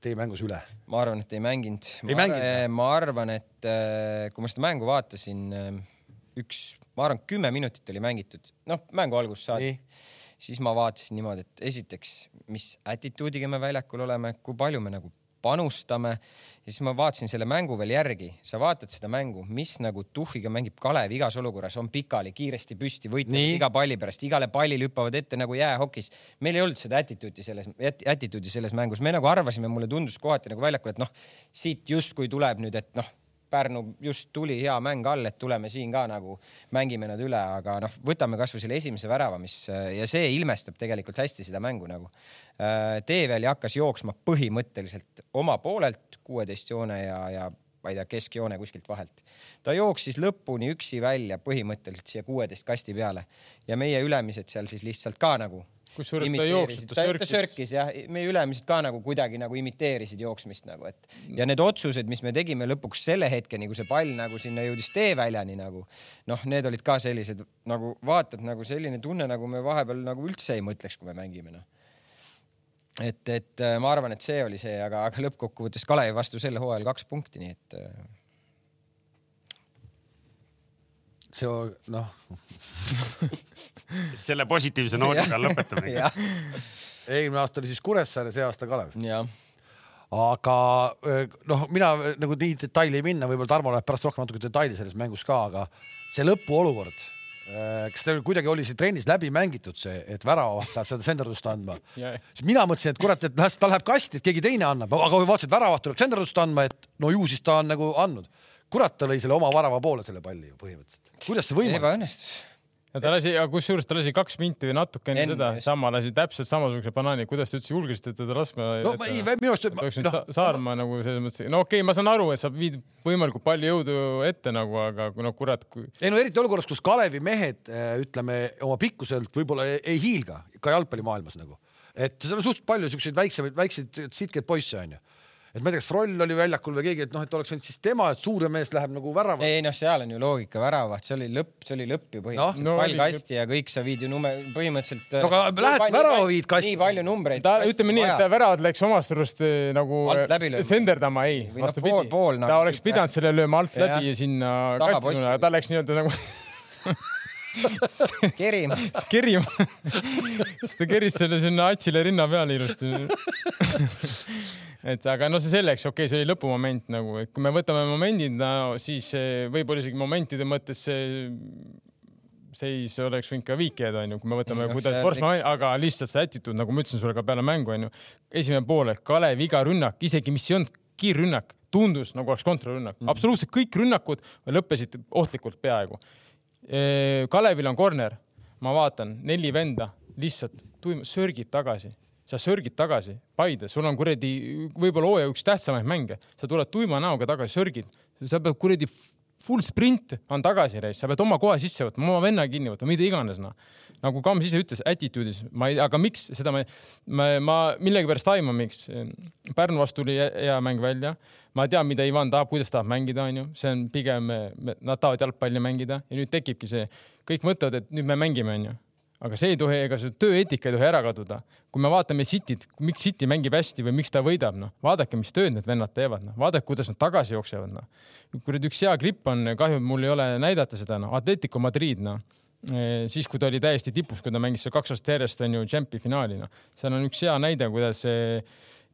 A: teie mängus üle .
C: ma arvan , et ei mänginud .
A: Ei mänginud?
C: ma arvan , et äh, kui ma seda mängu vaatasin , üks , ma arvan , kümme minutit oli mängitud , noh , mängu algusest saadi
A: Nii. .
C: siis ma vaatasin niimoodi , et esiteks , mis atituudiga me väljakul oleme , kui palju me nagu panustame ja siis ma vaatasin selle mängu veel järgi , sa vaatad seda mängu , mis nagu tuhhiga mängib Kalev igas olukorras , on pikali , kiiresti püsti , võitleb
A: Nii.
C: iga palli pärast , igale pallile hüppavad ette nagu jäähokis . meil ei olnud seda atituudi selles , atituudi selles mängus , me nagu arvasime , mulle tundus kohati nagu väljakul , et noh , siit justkui tuleb nüüd , et noh , Pärnu just tuli hea mäng all , et tuleme siin ka nagu mängime nad üle , aga noh , võtame kasvõi selle esimese värava , mis äh, ja see ilmestab tegelikult hästi seda mängu nagu . Teeväli hakkas jooksma põhimõtteliselt oma poolelt kuueteist joone ja , ja ma ei tea , keskjoone kuskilt vahelt . ta jooksis lõpuni üksi välja põhimõtteliselt siia kuueteist kasti peale ja meie ülemised seal siis lihtsalt ka nagu .
D: Kusjuures ta ei jooksnud, ta
C: ta
D: sörkis.
C: ta sörkis jah , meie ülemised ka nagu kuidagi nagu imiteerisid jooksmist nagu , et
D: Mm.
C: ja need otsused , mis me tegime lõpuks selle hetkeni , kui see pall nagu sinna jõudis teeväljani nagu noh , need olid ka sellised nagu vaatad nagu selline tunne , nagu me vahepeal nagu üldse ei mõtleks , kui me mängime noh et , et äh, ma arvan , et see oli see , aga , aga lõppkokkuvõttes Kalevi vastu sel hooajal kaks punkti , nii et äh,
A: see noh ,
B: selle positiivse noodiga lõpetame .
C: jah ,
A: eelmine aasta oli siis Kuressaare , see aasta Kalev .
C: jah .
A: aga öö, noh , mina nagu nii detaili ei minna , võib-olla Tarmo läheb pärast rohkem natuke detaili selles mängus ka , aga see lõpuolukord , kas teil kuidagi oli see trennis läbi mängitud see , et väravavaht läheb seda senderdust andma ?
D: [laughs] Jah.
A: siis mina mõtlesin , et kurat , et las ta läheb kasti , et keegi teine annab , aga kui vaatasin , et väravaht tuleb senderdust andma , et no ju siis ta on nagu andnud . kurat , ta lõi selle oma värava poole selle palli ju põhimõtteliselt . kuidas see võimalik ?
C: ebaõnnestus .
D: ja ta lasi , kusjuures ta lasi kaks minti või natuke enne
C: Enne
D: seda
C: just.
D: sama , lasi täpselt samasuguse banaani , kuidas te üldse julgesite teda laskma ?
A: no ma ei , minu arust ,
D: peaks nüüd
A: noh
D: sa , Saarma nagu selles mõttes , no okei okay, , ma saan aru , et sa viid võimalikult palju jõudu ette nagu , aga kui no kurat , kui
A: ei no eriti olukorras , kus Kalevi mehed äh, ütleme oma pikkuselt võib-olla ei- ei hiilga ka jalgpallimaailmas nagu , et seal on suhteliselt palju siukseid väiksemaid , väikseid sitkeid poisse onju . et ma ei tea , kas Froll oli väljakul või keegi , et noh , et oleks võinud siis tema , et suurem mees läheb nagu värava .
C: ei noh , seal on ju loogika , väravaht , see oli lõpp , see oli lõpp ju põhimõtteliselt
A: Noh,
D: No,
C: no, ,
D: oli
C: pall kasti ja kõik sa viid ju nume , põhimõtteliselt .
A: No aga lähed värava viid kasti.
C: nii palju numbreid .
D: ta ütleme nii , et ta väravad läks omast arust eh, nagu
C: Alt läbi lööma.
D: senderdama , ei ,
C: Või noh, pool-
D: vastupidi .
C: pool
D: ta
C: nagu
D: oleks
C: sihuke-
D: pidanud selle lööma alt
C: Jah.
D: läbi ja sinna
C: Tagaposti.
D: kasti , aga ta läks nii-öelda nagu
C: ta
D: [laughs]
C: kerima .
D: kerima . siis ta keris selle sinna Atsile rinna peale ilusti . [laughs] et aga no see selleks , okei okay, , see oli lõpumoment nagu , et kui me võtame momendid no, , siis eh, võib-olla isegi momentide mõttes see seis oleks võinud ka viik jääda , onju , kui me võtame
C: Ei, , noh,
D: kuidas
C: see-
D: Forsman , aga lihtsalt see attitude , nagu ma ütlesin sulle ka peale mängu , onju , esimene poolek , Kalev iga rünnak , isegi mis ei olnud kiirrünnak , tundus nagu oleks kontrarünnak
C: Mhm.
D: mm. , absoluutselt kõik rünnakud lõppesid ohtlikult peaaegu . Kalevil on korter , ma vaatan , neli venda lihtsalt tuim- sörgib tagasi , sa sörgid tagasi , Paide , sul on kuradi võib-olla hooaja üks tähtsamaid mänge , sa tuled tuima näoga tagasi , sörgid , sa pead kuradi full sprint on tagasi reis , sa pead oma koha sisse võtma , oma venna kinni võtma , mida iganes noh . nagu Kams ise ütles , attitude'is , ma ei , aga miks seda ma , ma, ma millegipärast aiman , miks . Pärnu vastu tuli hea- hea mäng välja , ma tean , mida Ivan tahab , kuidas tahab mängida , onju , see on pigem , nad tahavad jalgpalli mängida ja nüüd tekibki see , kõik mõtlevad , et nüüd me mängime , onju aga see ei tohi, ega see tööeetika ei tohi ära kaduda. kui me vaatame Cityt, miks City mängib hästi või miks ta võidab, noh, vaadake, mis tööd need vennad teevad, noh, vaadake, kuidas nad tagasi jooksevad, noh. kuradi üks hea gripp on, kahju, et mul ei ole näidata seda, noh, Atletico Madrid, noh Eh, siis, kui ta oli täiesti tipus, kui ta mängis seal kaks aastat järjest on ju Champi finaali, noh, seal on üks hea näide, kuidas eh,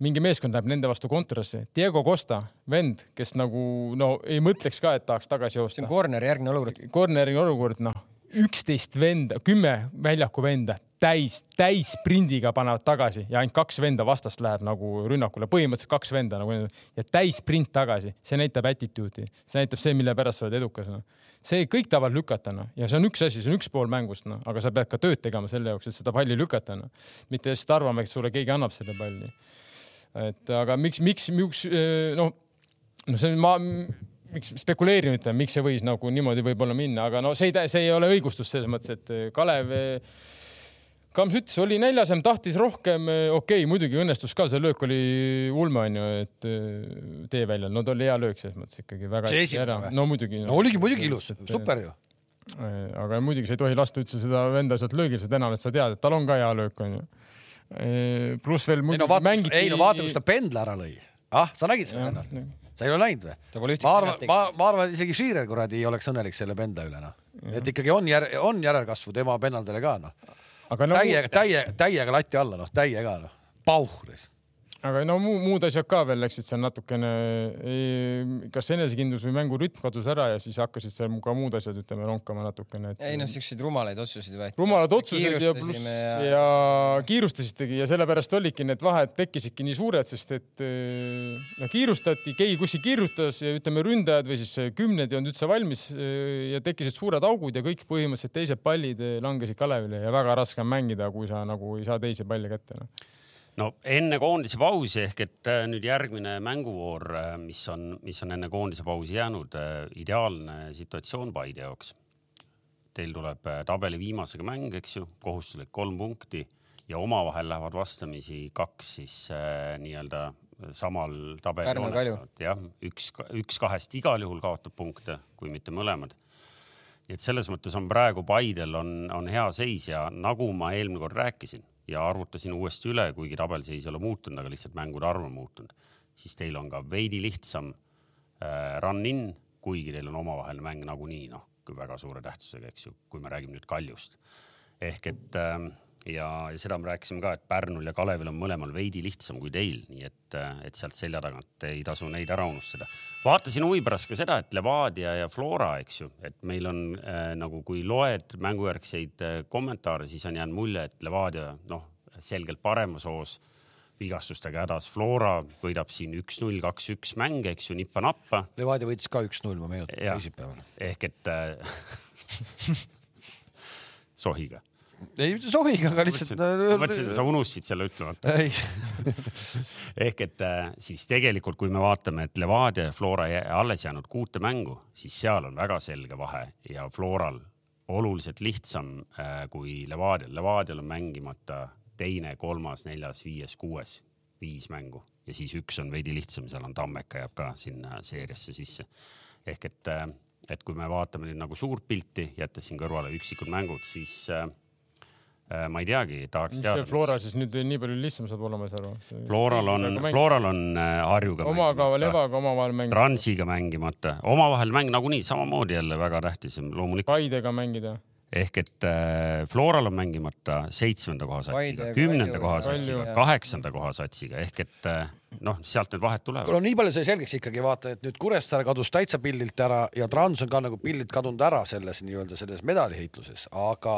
D: mingi meeskond läheb nende vastu kontrasse. Diego Costa, vend, kes nagu no ei mõtleks ka, et tahaks tagasi
C: see
D: joosta
C: on . corner , järgmine olukord .
D: corneri olukord , noh , üksteist venda , kümme väljaku venda täis , täis sprindiga panevad tagasi ja ainult kaks venda vastast läheb nagu rünnakule , põhimõtteliselt kaks venda nagu ja täis sprint tagasi , see näitab attitude'i , see näitab see , mille pärast sa oled edukas no. . see kõik tahavad lükata noh , ja see on üks asi , see on üks pool mängust noh , aga sa pead ka tööd tegema selle jaoks , et seda palli lükata noh , mitte lihtsalt arvama , et sulle keegi annab selle palli . et aga miks , miks , miks noh no see on , ma miks spekuleerin , ütlen , miks see võis nagu niimoodi võib-olla minna , aga no see ei , see ei ole õigustus selles mõttes , et äh, Kalev Kams ütles , oli näljasem , tahtis rohkem , okei okay, , muidugi õnnestus ka , see löök oli ulme onju , et eh, tee väljal , no ta oli hea löök selles mõttes ikkagi väga
A: See esimene või?
D: no muidugi noh,
A: no oligi muidugi ilus , super ju .
D: Eh, äh, aga muidugi sa ei tohi lasta üldse seda venda sealt löögil , seda enam , et sa tead , et tal on ka hea löök onju . pluss veel
A: ei
D: muidugi
A: no vaata , ei no vaata , kus ta pendla ära lõi . ah , sa nägid seda vennalt ? sa ei ole näinud või ?
C: Ta pole ühtegi
A: ma arvan
C: penalt ,
A: ma , ma arvan , isegi Shearer kuradi ei oleks õnnelik selle pendla üle noh . et ikkagi on jär- , on järelkasvu tema pennaldele ka noh .
D: aga no
A: täiega , täie , täiega lati alla noh , täie ka noh . pauh .
D: aga no muu , muud asjad ka veel läksid seal natukene , kas enesekindlus või mängurütm kadus ära ja siis hakkasid seal ka muud asjad , ütleme , ronkama natukene et...
C: ei noh , siukseid rumalaid otsuseid võeti .
D: rumalad otsused ja pluss ja, ja kiirustasitegi ja sellepärast olidki need vahed tekkisidki nii suured , sest et eh, no kiirustati , keegi kuskil kiirutas ja ütleme , ründajad või siis eh, kümned ei olnud üldse valmis eh, ja tekkisid suured augud ja kõik põhimõtteliselt teised pallid eh, langesid Kalevile ja väga raske on mängida , kui sa nagu ei saa teisi palle kätte noh. no. .
B: no enne koondise pausi ehk et äh, nüüd järgmine mänguvoor , mis on , mis on enne koondise pausi jäänud , ideaalne situatsioon Paide jaoks . Teil tuleb äh, tabeli viimasega mäng , eks ju , kohustuslik kolm punkti ja omavahel lähevad vastamisi kaks siis äh, nii-öelda samal
C: Pärnu ja Kalju.
B: tabelil . jah , üks , üks kahest igal juhul kaotab punkte , kui mitte mõlemad nii et selles mõttes on praegu Paidel on , on hea seis ja nagu ma eelmine kord rääkisin ja arvutasin uuesti üle , kuigi tabelseis ei ole muutunud , aga lihtsalt mängude arv on muutunud , siis teil on ka veidi lihtsam äh, run in , kuigi teil on omavaheline mäng nagunii noh , kui väga suure tähtsusega , eks ju , kui me räägime nüüd Kaljust . ehk et äh, ja, ja seda me rääkisime ka , et Pärnul ja Kalevil on mõlemal veidi lihtsam kui teil , nii et , et sealt selja tagant ei tasu neid ära unustada . vaatasin huvi pärast ka seda , et Levadia ja Flora , eks ju , et meil on äh, nagu , kui loed mängujärgseid äh, kommentaare , siis on jäänud mulje , et Levadia noh , selgelt paremas hoos , vigastustega hädas . Flora võidab siin üks-null , kaks-üks mänge , eks ju , nippa-nappa
A: Levadia võitis ka üks-null , ma meenutan
B: Jah.
A: teisipäeval .
B: ehk et äh, [laughs] sohiga .
A: ei , mitte sohiga , aga lihtsalt .
B: ma mõtlesin , et sa unustasid selle ütlemata .
A: ei ,
B: ehk et äh, siis tegelikult , kui me vaatame , et Levadia ja Flora jää- alles jäänud kuute mängu , siis seal on väga selge vahe ja Floral oluliselt lihtsam äh, kui Levadial . Levadial on mängimata teine , kolmas , neljas , viies , kuues , viis mängu ja siis üks on veidi lihtsam , seal on Tammeka jääb ka sinna seeriasse sisse . ehk et , et kui me vaatame nüüd nagu suurt pilti , jättes siin kõrvale üksikud mängud , siis äh, äh, ma ei teagi , tahaks
D: mis
B: teada .
D: see Flora siis nüüd nii palju lihtsam saab olema , ma ei saa aru .
B: Floral on , Floral on äh, Harjuga
D: omaga ,
B: mängimata ,
D: Levaga omavahel mängida ,
B: Transiga mängimata , omavahel mäng nagunii samamoodi jälle väga tähtis , loomulikult .
D: Paidega mängida ,
B: ehk et äh, Floral on mängimata seitsmenda koha satsiga
C: Paide ,
B: kümnenda
C: Kalju-
B: koha
D: Kalju-
B: satsiga , kaheksanda koha satsiga ehk et äh, noh , sealt need vahed tulevad .
A: no nii palju sai selgeks ikkagi vaata , et nüüd Kuressaare kadus täitsa pildilt ära ja Trans on ka nagu pildilt kadunud ära selles nii-öelda selles medaliheitluses , aga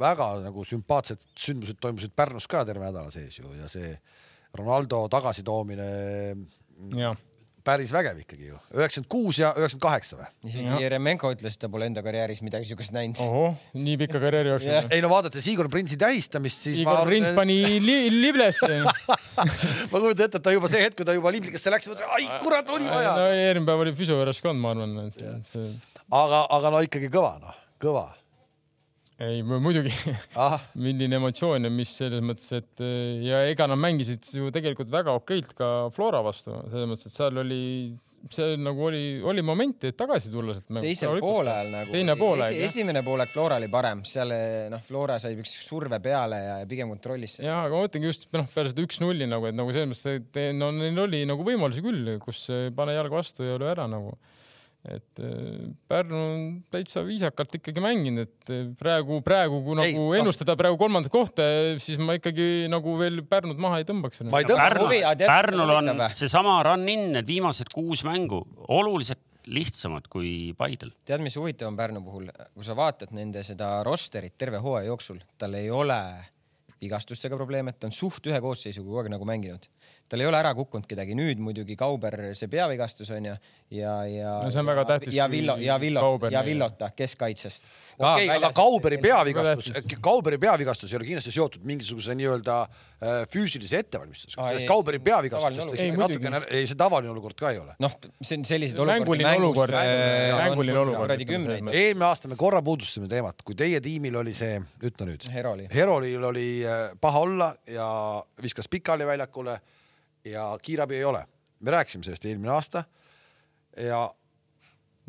A: väga nagu sümpaatsed sündmused toimusid Pärnus ka terve nädala sees ju ja see Ronaldo tagasitoomine
C: Mm.
D: jah .
A: päris vägev ikkagi ju , üheksakümmend kuus ja üheksakümmend kaheksa või ?
C: isegi
D: Jah.
C: Jeremenko ütles , et ta pole enda karjääris midagi siukest näinud .
A: Oh,
D: ohoh , nii pika karjääri jooksul
C: Jah.
D: yeah. .
A: ei no vaadates Igor Printsi tähistamist , siis
D: Igor
A: ma,
D: Prins
A: ma
D: pani li
C: [laughs]
D: liblesse .
A: kujutan ette , et ta juba see hetk , kui ta juba liblikasse läks , mõtles , ai kurat , oli vaja
D: no . eelmine päev oli füsiojuures ka olnud , ma arvan , et see, see
A: aga , aga no ikkagi kõva noh , kõva .
D: ei , muidugi [laughs]
A: ahah ,
D: milline emotsioon ja mis selles mõttes , et eh, ja ega nad mängisid ju tegelikult väga okeilt ka Flora vastu , selles mõttes , et seal oli , seal nagu oli , oli momenti , et tagasi tulla sealt .
C: [laughs] teisel poolel nagu .
D: teine poolaeg jah .
C: esimene poolek Flora oli parem , seal noh , Flora sai üks surve peale ja ja pigem kontrollis seda .
D: ja , aga ma mõtlengi just noh , peale seda üks-nulli nagu , et nagu selles mõttes , et eh, no neil oli nagu võimalusi küll , kus eh, pane jalg vastu ja löö ära nagu . et eh, Pärnu on täitsa viisakalt ikkagi mänginud , et eh, praegu , praegu kui
A: Ei,
D: nagu
A: noh.
D: ennustada praegu kolmandat kohta , siis ma ikkagi nagu veel Pärnut maha ei tõmbaks .
A: ma ei tõmba ,
B: Pärnu
C: huvi, , aga tead,
B: Pärnul on
C: huvitav.
B: seesama run-in , need viimased kuus mängu oluliselt lihtsamad kui Paidel .
C: tead , mis huvitav on Pärnu puhul , kui sa vaatad nende seda rosterit terve hooaja jooksul , tal ei ole vigastustega probleeme , ta on suht ühe koosseisuga kogu aeg nagu mänginud . tal ei ole ära kukkunud kedagi , nüüd muidugi Kauber , see peavigastus on ju , ja , ja .
D: No see on väga tähtis,
C: ja
D: kui
C: Villo , ja Villo ,
D: Kauber-
C: ja Villota keskkaitsest .
A: okei , aga Kauberi . peavigastus , Kauberi peavigastus ei ole kindlasti seotud mingisuguse nii-öelda äh, füüsilise ettevalmistusega ,
C: Aa,
A: sellest
C: ei,
A: Kauberi
C: ei, tavaline
A: peavigastusest
C: olukord.
A: isegi
D: Ei, muidugi.
A: natukene , ei see tavaline olukord ka ei ole .
C: noh , see on sellised
D: Mänguline olukord, mänguline- mänguline olukord,
C: kuradi
D: ütleme selles
C: kümneid .
D: mõttes.
A: eelmine aasta me korra puudustasime teemat , kui teie tiimil oli see , ütle nüüd ,
C: Heroli .
A: Herolil oli äh, paha olla ja viskas pikali väljakule ja kiirabi ei ole . me rääkisime sellest eelmine aasta ja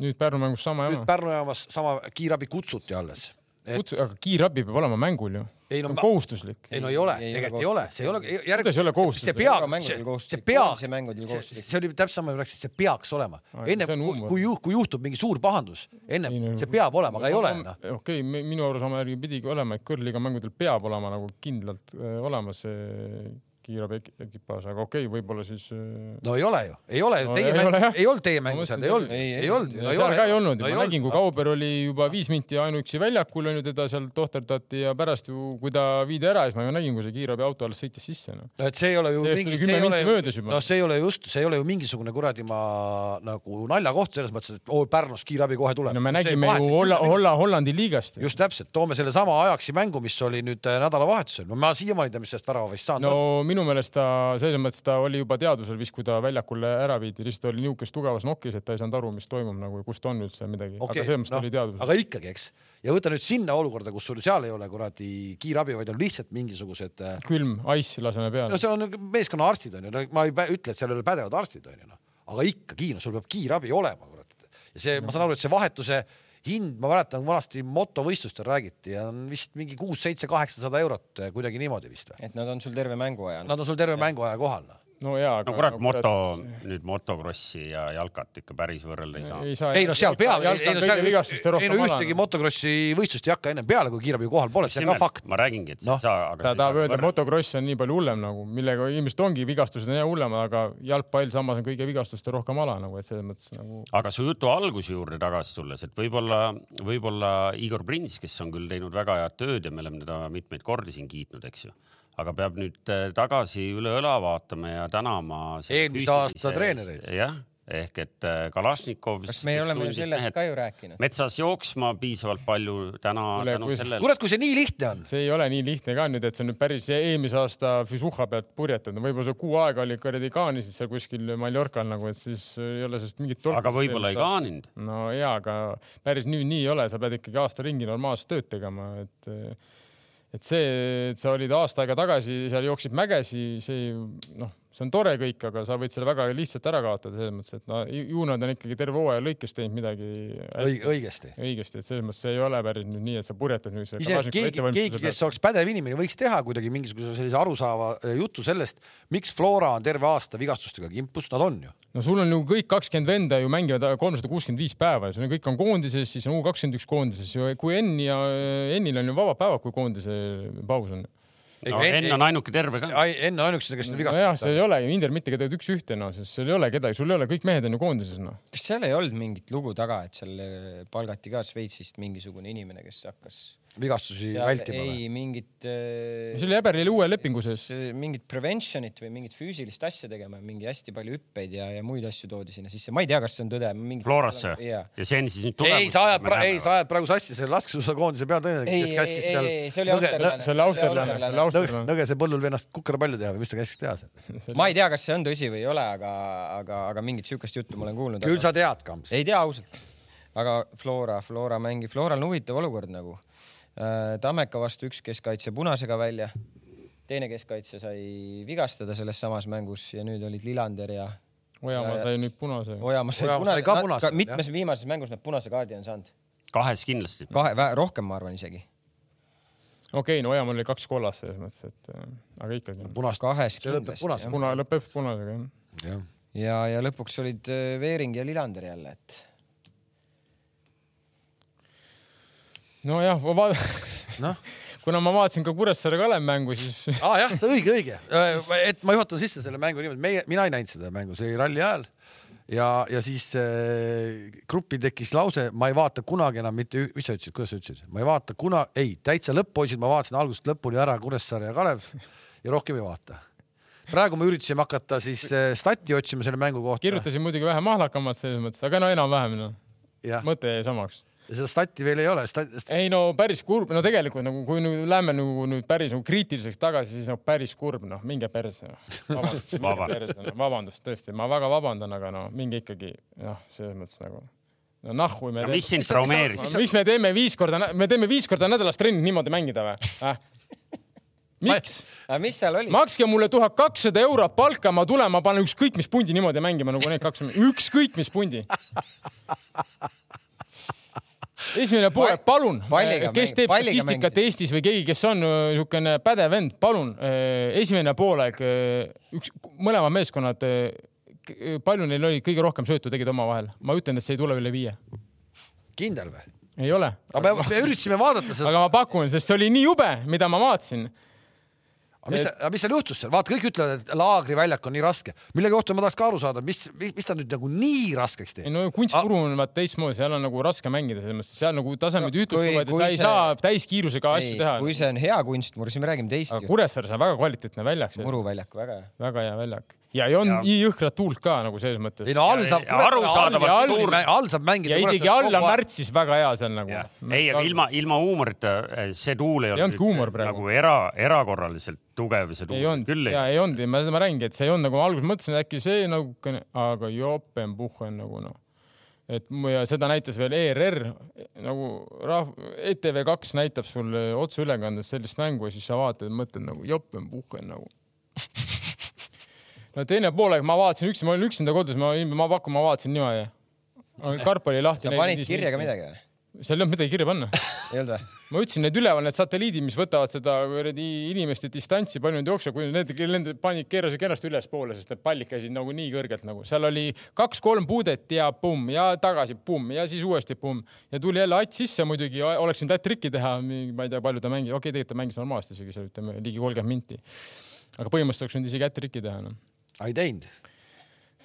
D: nüüd Pärnu mängus sama
A: nüüd
D: jama .
A: Pärnu jaamas sama kiirabi kutsuti alles .
D: kutsu , aga kiirabi peab olema mängul ju .
A: Ei,
D: see
A: no
D: on
A: ma-
D: kohustuslik .
A: ei no ei ole ,
C: Ei ole
A: tegelikult ei ole , see ei ole .
D: Kuidas ei ole
A: see
D: kohustuslik?
A: pea
C: Iga , mängudel
A: see, see
C: kohustuslik,
A: peaks
C: koondise mängudel , kohustuslik.
A: see oli täpselt sama , ma rääkisin , see peaks olema
D: Ai, .
A: enne
D: see on
A: kui ,
D: humbug.
A: kui juht , kui juhtub mingi suur pahandus , enne
D: Ei, no-
A: see peab olema , aga ei ole noh .
D: okei okay, , minu arusaama järgi pidigi olema , et kõrliga mängudel peab olema nagu kindlalt äh, olema see kiirabi ek- ekipaaž , aga okei okay, , võib-olla siis äh,
A: no ei ole ju , ei ole ju
D: No
A: no, , teie
D: ei ole,
A: mäng
D: jah. ,
A: ei olnud teie mängu
D: Ma
A: seal ,
D: mõtlesin,
A: ei olnud , ei
C: ei,
D: et
C: ei,
A: olnud ju , no ei
D: seal
A: ole .
D: ka ei olnud ju , ma nägin , kui Kauber oli juba viis minti ainuüksi väljakul onju , teda seal tohterdati ja pärast ju , kui ta viidi ära , siis ma ju nägin , kui see kiirabi auto alles sõitis sisse noh. no. .
A: no et see ei ole ju
D: Sellest
A: mingi ,
D: oli
A: see
D: kümme
A: ei ole
D: minti möödas
A: ju ,
D: juba.
A: noh , see ei ole just , see ei ole ju mingisugune kuradi ma nagu naljakoht selles mõttes , et oo Pärnus kiirabi kohe tuleb .
D: no me nägime ju Holla , Holla , Hollandi liigast .
A: just täpselt , toome sellesama Ajaxi mängu , mis oli nüüd äh, nädalavahetusel , no ma siiamaani ei tea , mis sellest värava vist saanud
D: no
A: on .
D: minu meelest ta selles mõttes ta oli juba teadvusel vist , kui ta väljakule ära viidi , lihtsalt oli niisuguses tugevas nokis , et ta ei saanud aru , mis toimub nagu ja kust on üldse midagi okay, , aga selles mõttes no, ta oli teadvusel .
A: noh, aga ikkagi , eks , ja võta nüüd sinna olukorda , kus sul seal ei ole kuradi kiirabi , vaid on lihtsalt mingisugused äh,
D: külm , ice laseme peale
A: no . seal on meeskonnaarstid onju , no ma ei pä- ütle , et seal ei ole pädevad arstid onju noh , aga ikkagi , no sul peab kiirabi olema kurat . ja see , ma saan aru , et see vahetuse hind , ma mäletan , vanasti motovõistlustel räägiti ja on vist mingi kuus-seitse-kaheksasada eurot , kuidagi niimoodi vist või ?
C: et nad on sul terve mänguaja .
A: Nad on sul terve mänguaja kohal noh .
D: no jaa , aga
B: no kurat , moto , nüüd motokrossi ja jalkat ikka päris võrrelda ei saa .
D: ei saa .
A: ei no seal peab , ei
D: ei
A: no
D: seal
A: seal ,
D: vigastust
A: ei
D: rohkem
A: no ühtegi
D: alanud .
A: motokrossi võistlust ei hakka ennem peale , kui kiirabi kohal pole , see on ka fakt .
B: ma räägingi , et sa
A: Noh.
B: ei saa , aga
D: ta tahab öelda , et
B: võrrelda .
D: motokross on nii palju hullem nagu , millega ilmselt ongi vigastused on jah hullemad , aga jalgpall samas on kõige vigastuste rohkem ala nagu , et selles mõttes nagu
B: aga su jutu alguse juurde tagasi tulles , et võib-olla , võib-olla Igor Prins , kes on küll teinud väga head tööd ja me oleme teda mitmeid kordi siin kiitnud , eks ju , aga peab nüüd eh, tagasi üle õla vaatama ja tänama .
A: Eelmise aasta treenereid.
B: jah , ehk et eh, Kalašnikov .
C: kas me oleme ju sellest ka ju rääkinud ?
B: metsas jooksma piisavalt palju täna
D: Kuule,
B: tänu
D: kui-
B: sellele .
A: kurat , kui see nii lihtne on .
D: see ei ole nii lihtne ka nüüd , et see on nüüd päris eelmise aasta Füsuha pealt purjetanud , võib-olla see kuu aega oli kuradi kaanisid seal kuskil Mallorcal nagu , et siis ei ole sellest mingit tolku .
B: aga võib-olla ei . kaaninud .
D: no ja , aga päris nii nii ei ole , sa pead ikkagi aasta ringi normaalset tööd tegema , et et see , et sa olid aasta aega tagasi , seal jooksid mägesi , see noh , see on tore kõik , aga sa võid selle väga lihtsalt ära kaotada selles mõttes , et no ju ju nad on ikkagi terve hooaja lõikes teinud midagi hästi-
A: õigesti .
D: õigesti , et selles mõttes see ei ole päris nüüd nii , et sa purjetad nüüd .
A: iseenesest keegi , keegi , kes oleks pädev inimene , võiks teha kuidagi mingisuguse sellise arusaava eh, jutu sellest , miks Flora on terve aasta vigastustega kimpus , nad on ju .
D: no sul on ju kõik kakskümmend venda ju mängivad kolmsada kuuskümmend viis päeva ja sul on kõik on koondises , siis on U kakskümmend üks koondises ju , kui Enn ja Ennil on ju vabad päevad , kui koondise paus on .
B: no Enn on ainuke terve ka .
A: Enn on ainukesena , kes on
D: nojah , seal
A: vigastatud .
D: ei ole ju Indrek mitte kedagi üks-ühte noh , sest seal ei ole kedagi , sul ei ole , kõik mehed on ju koondises noh .
C: kas seal ei olnud mingit lugu taga , et seal äh, palgati ka Šveitsist mingisugune inimene , kes hakkas
A: vigastusi
C: seal
A: vältima või ?
C: ei mingit äh,
D: see oli Eberlil uue lepingu sees .
C: see- mingit prevention'it või mingit füüsilist asja tegema , mingi hästi palju hüppeid ja , ja muid asju toodi sinna sisse , ma ei tea , kas see on tõde .
B: Florasse või
C: jaa ?
B: ja see on siis nüüd
A: ei ,
B: tulemus
A: sa ajad , ei , sa ajad praegu sassi selle laskesuusakoondise peatreeneri ,
C: ei ,
A: kes
C: ei ,
A: käskis
C: ei , ei , see oli
A: seal
C: austerlane .
D: see oli austerlane , see oli
A: nõge-
D: austerlane .
A: nõgese põllul vennast kukerpalli teha või mis ta käskis teha seal ?
C: ma ei tea , kas see on tõsi või ei ole , aga , aga , aga mingit siukest juttu ma olen kuulnud .
A: küll sa tead , Kamps .
C: ei tea ausalt , aga Flora , Flora mängib , Floral on huvitav olukord nagu . Tammeka vastu üks keskkaitse punasega välja, teine keskkaitse sai vigastada selles samas mängus ja nüüd olid Lillander ja
D: Ojamaa sai nüüd punase .
C: Ojamaa sai
A: Ojamaa sai ka punase,
C: punase ,
A: jah.
C: mitmes viimases mängus nad punase kaardi on saanud ?
B: kahes kindlasti .
C: kahe , rohkem ma arvan isegi .
D: okei , no Ojamaal oli kaks kollast selles mõttes , et äh, aga ikkagi .
A: punast .
C: kahes
A: see lõpeb
C: kindlasti.
A: punasega .
D: puna lõpeb punasega jah .
A: jah ,
C: ja , ja lõpuks olid äh, Veering ja Lillander jälle , et
D: nojah , ma vaatan ,
A: noh ,
D: [laughs] kuna ma vaatasin ka Kuressaare Kalev mängu , siis [laughs]
A: aa jah , see õige , õige , et ma juhatan sisse selle mängu niimoodi , meie , mina ei näinud seda mängu , see oli ralli ajal ja , ja siis äh, gruppi tekkis lause , ma ei vaata kunagi enam mitte , mis sa ütlesid , kuidas sa ütlesid , ma ei vaata kuna- , ei , täitsa lõpp , poisid , ma vaatasin algusest lõpuni ära Kuressaare ja Kalev ja rohkem ei vaata . praegu me üritasime hakata siis äh, stati otsima selle mängu kohta .
D: kirjutasin muidugi vähe mahlakamalt selles mõttes , aga no enam-vähem noh ,
A: jah ,
D: mõte jäi samaks .
A: seda stati veel ei ole , stat- ,
D: ei no päris kurb , no tegelikult nagu kui nüüd lähme nagu nüüd päris nagu kriitiliseks tagasi , siis nagu päris kurb noh , minge perse noh. Vabandust, minge
B: Vabandust.
D: perse, noh. vabandust , tõesti , ma väga vabandan , aga no minge ikkagi noh , selles mõttes nagu no nahhu me .
B: mis sind traumeeris ?
D: miks me teeme viis korda , me teeme viis korda nädalas trenni niimoodi mängida või
B: [laughs]
D: äh? ? miks ?
C: aga mis seal oli ?
D: makske mulle tuhat kakssada eurot palka , ma tulen , ma panen ükskõik mis pundi niimoodi mängima nagu need kaks , [laughs] ükskõik mis pundi . esimene pool , palun
C: palliga ,
D: kes
C: mängi-
D: teeb
C: palliga
D: statistikat Eestis või keegi , kes on öö, niisugune pädev vend , palun , esimene poolaeg , üks , mõlemad meeskonnad , palju neil oli kõige rohkem söötu tegid omavahel , ma ütlen , et see ei tule üle viie ,
A: kindel või ?
D: ei ole
A: aga me, me üritasime vaadata seda ,
D: aga ma pakun , sest see oli nii jube , mida ma vaatasin .
A: aga mis , aga mis seal juhtus seal , vaata , kõik ütlevad , et laagriväljak on nii raske , mille kohta ma tahaks ka aru saada , mis , mis, mis ta nüüd nagu nii raskeks
D: ei
A: teeb ?
D: no kunstpuru on vaata teistmoodi , seal on nagu raske mängida selles mõttes , seal nagu tasemed
C: No, kui-
D: ühtlustuvad ja
C: kui
D: sa ei
C: see-
D: saa täiskiirusega asju
C: ei , kui
D: teha .
C: see on hea kunstmur , siis me räägime teist
D: aga
C: ju .
D: Kuressaare sai väga kvaliteetne väljak ,
C: muruväljak , väga hea .
D: väga hea väljak ja ei olnud nii jõhkrat tuult ka nagu selles mõttes
A: ei . no all
B: Ja-
A: saab ,
B: ja arusaadavalt suur-
A: all saab mängida .
D: ja isegi alla . märtsis väga hea seal nagu
B: Jah. . ei , aga ilma , ilma huumorita eh, see tuul ei,
D: Ei olnudki huumor praegu.
B: nagu era , erakorraliselt tugev see tuul
D: ei olnud
B: küll ei
D: ja
B: olnud .
D: ei olnud , ma seda räägingi , et see ei olnud nagu ma alguses mõtlesin , et äkki see natukene , aga jopenpuhh on nagu noh , et mu- ja seda näitas veel ERR nagu rahv- , E ETV2 näitab sulle otseülekandes sellist mängu ja siis sa vaatad ja mõtled nagu jopenpuhh on nagu . no teine poolega ma vaatasin üksi , ma olin üksinda kodus , ma , ma pakun , ma vaatasin niimoodi . karp oli lahti .
C: sa panid kirja ka ? midagi või ?
D: seal ei olnud midagi kirja panna
C: ei olnud või ?
D: ma ütlesin , need üleval need satelliidid , mis võtavad seda kuradi inimeste distantsi , palju nad jooksevad , kui need , nende panid , keerasid kenasti ülespoole , sest need pallid käisid nagu nii kõrgelt nagu , seal oli kaks-kolm puudet ja pumm ja tagasi pumm ja siis uuesti pumm ja tuli jälle Ats sisse muidugi , oleks võinud ätt rikki teha , ma ei tea , palju ta mängis , okei okay, , tegelikult ta mängis normaalselt isegi seal ütleme ligi kolmkümmend minti . aga põhimõtteliselt oleks võinud isegi ätt rikki teha noh .
A: ei teinud .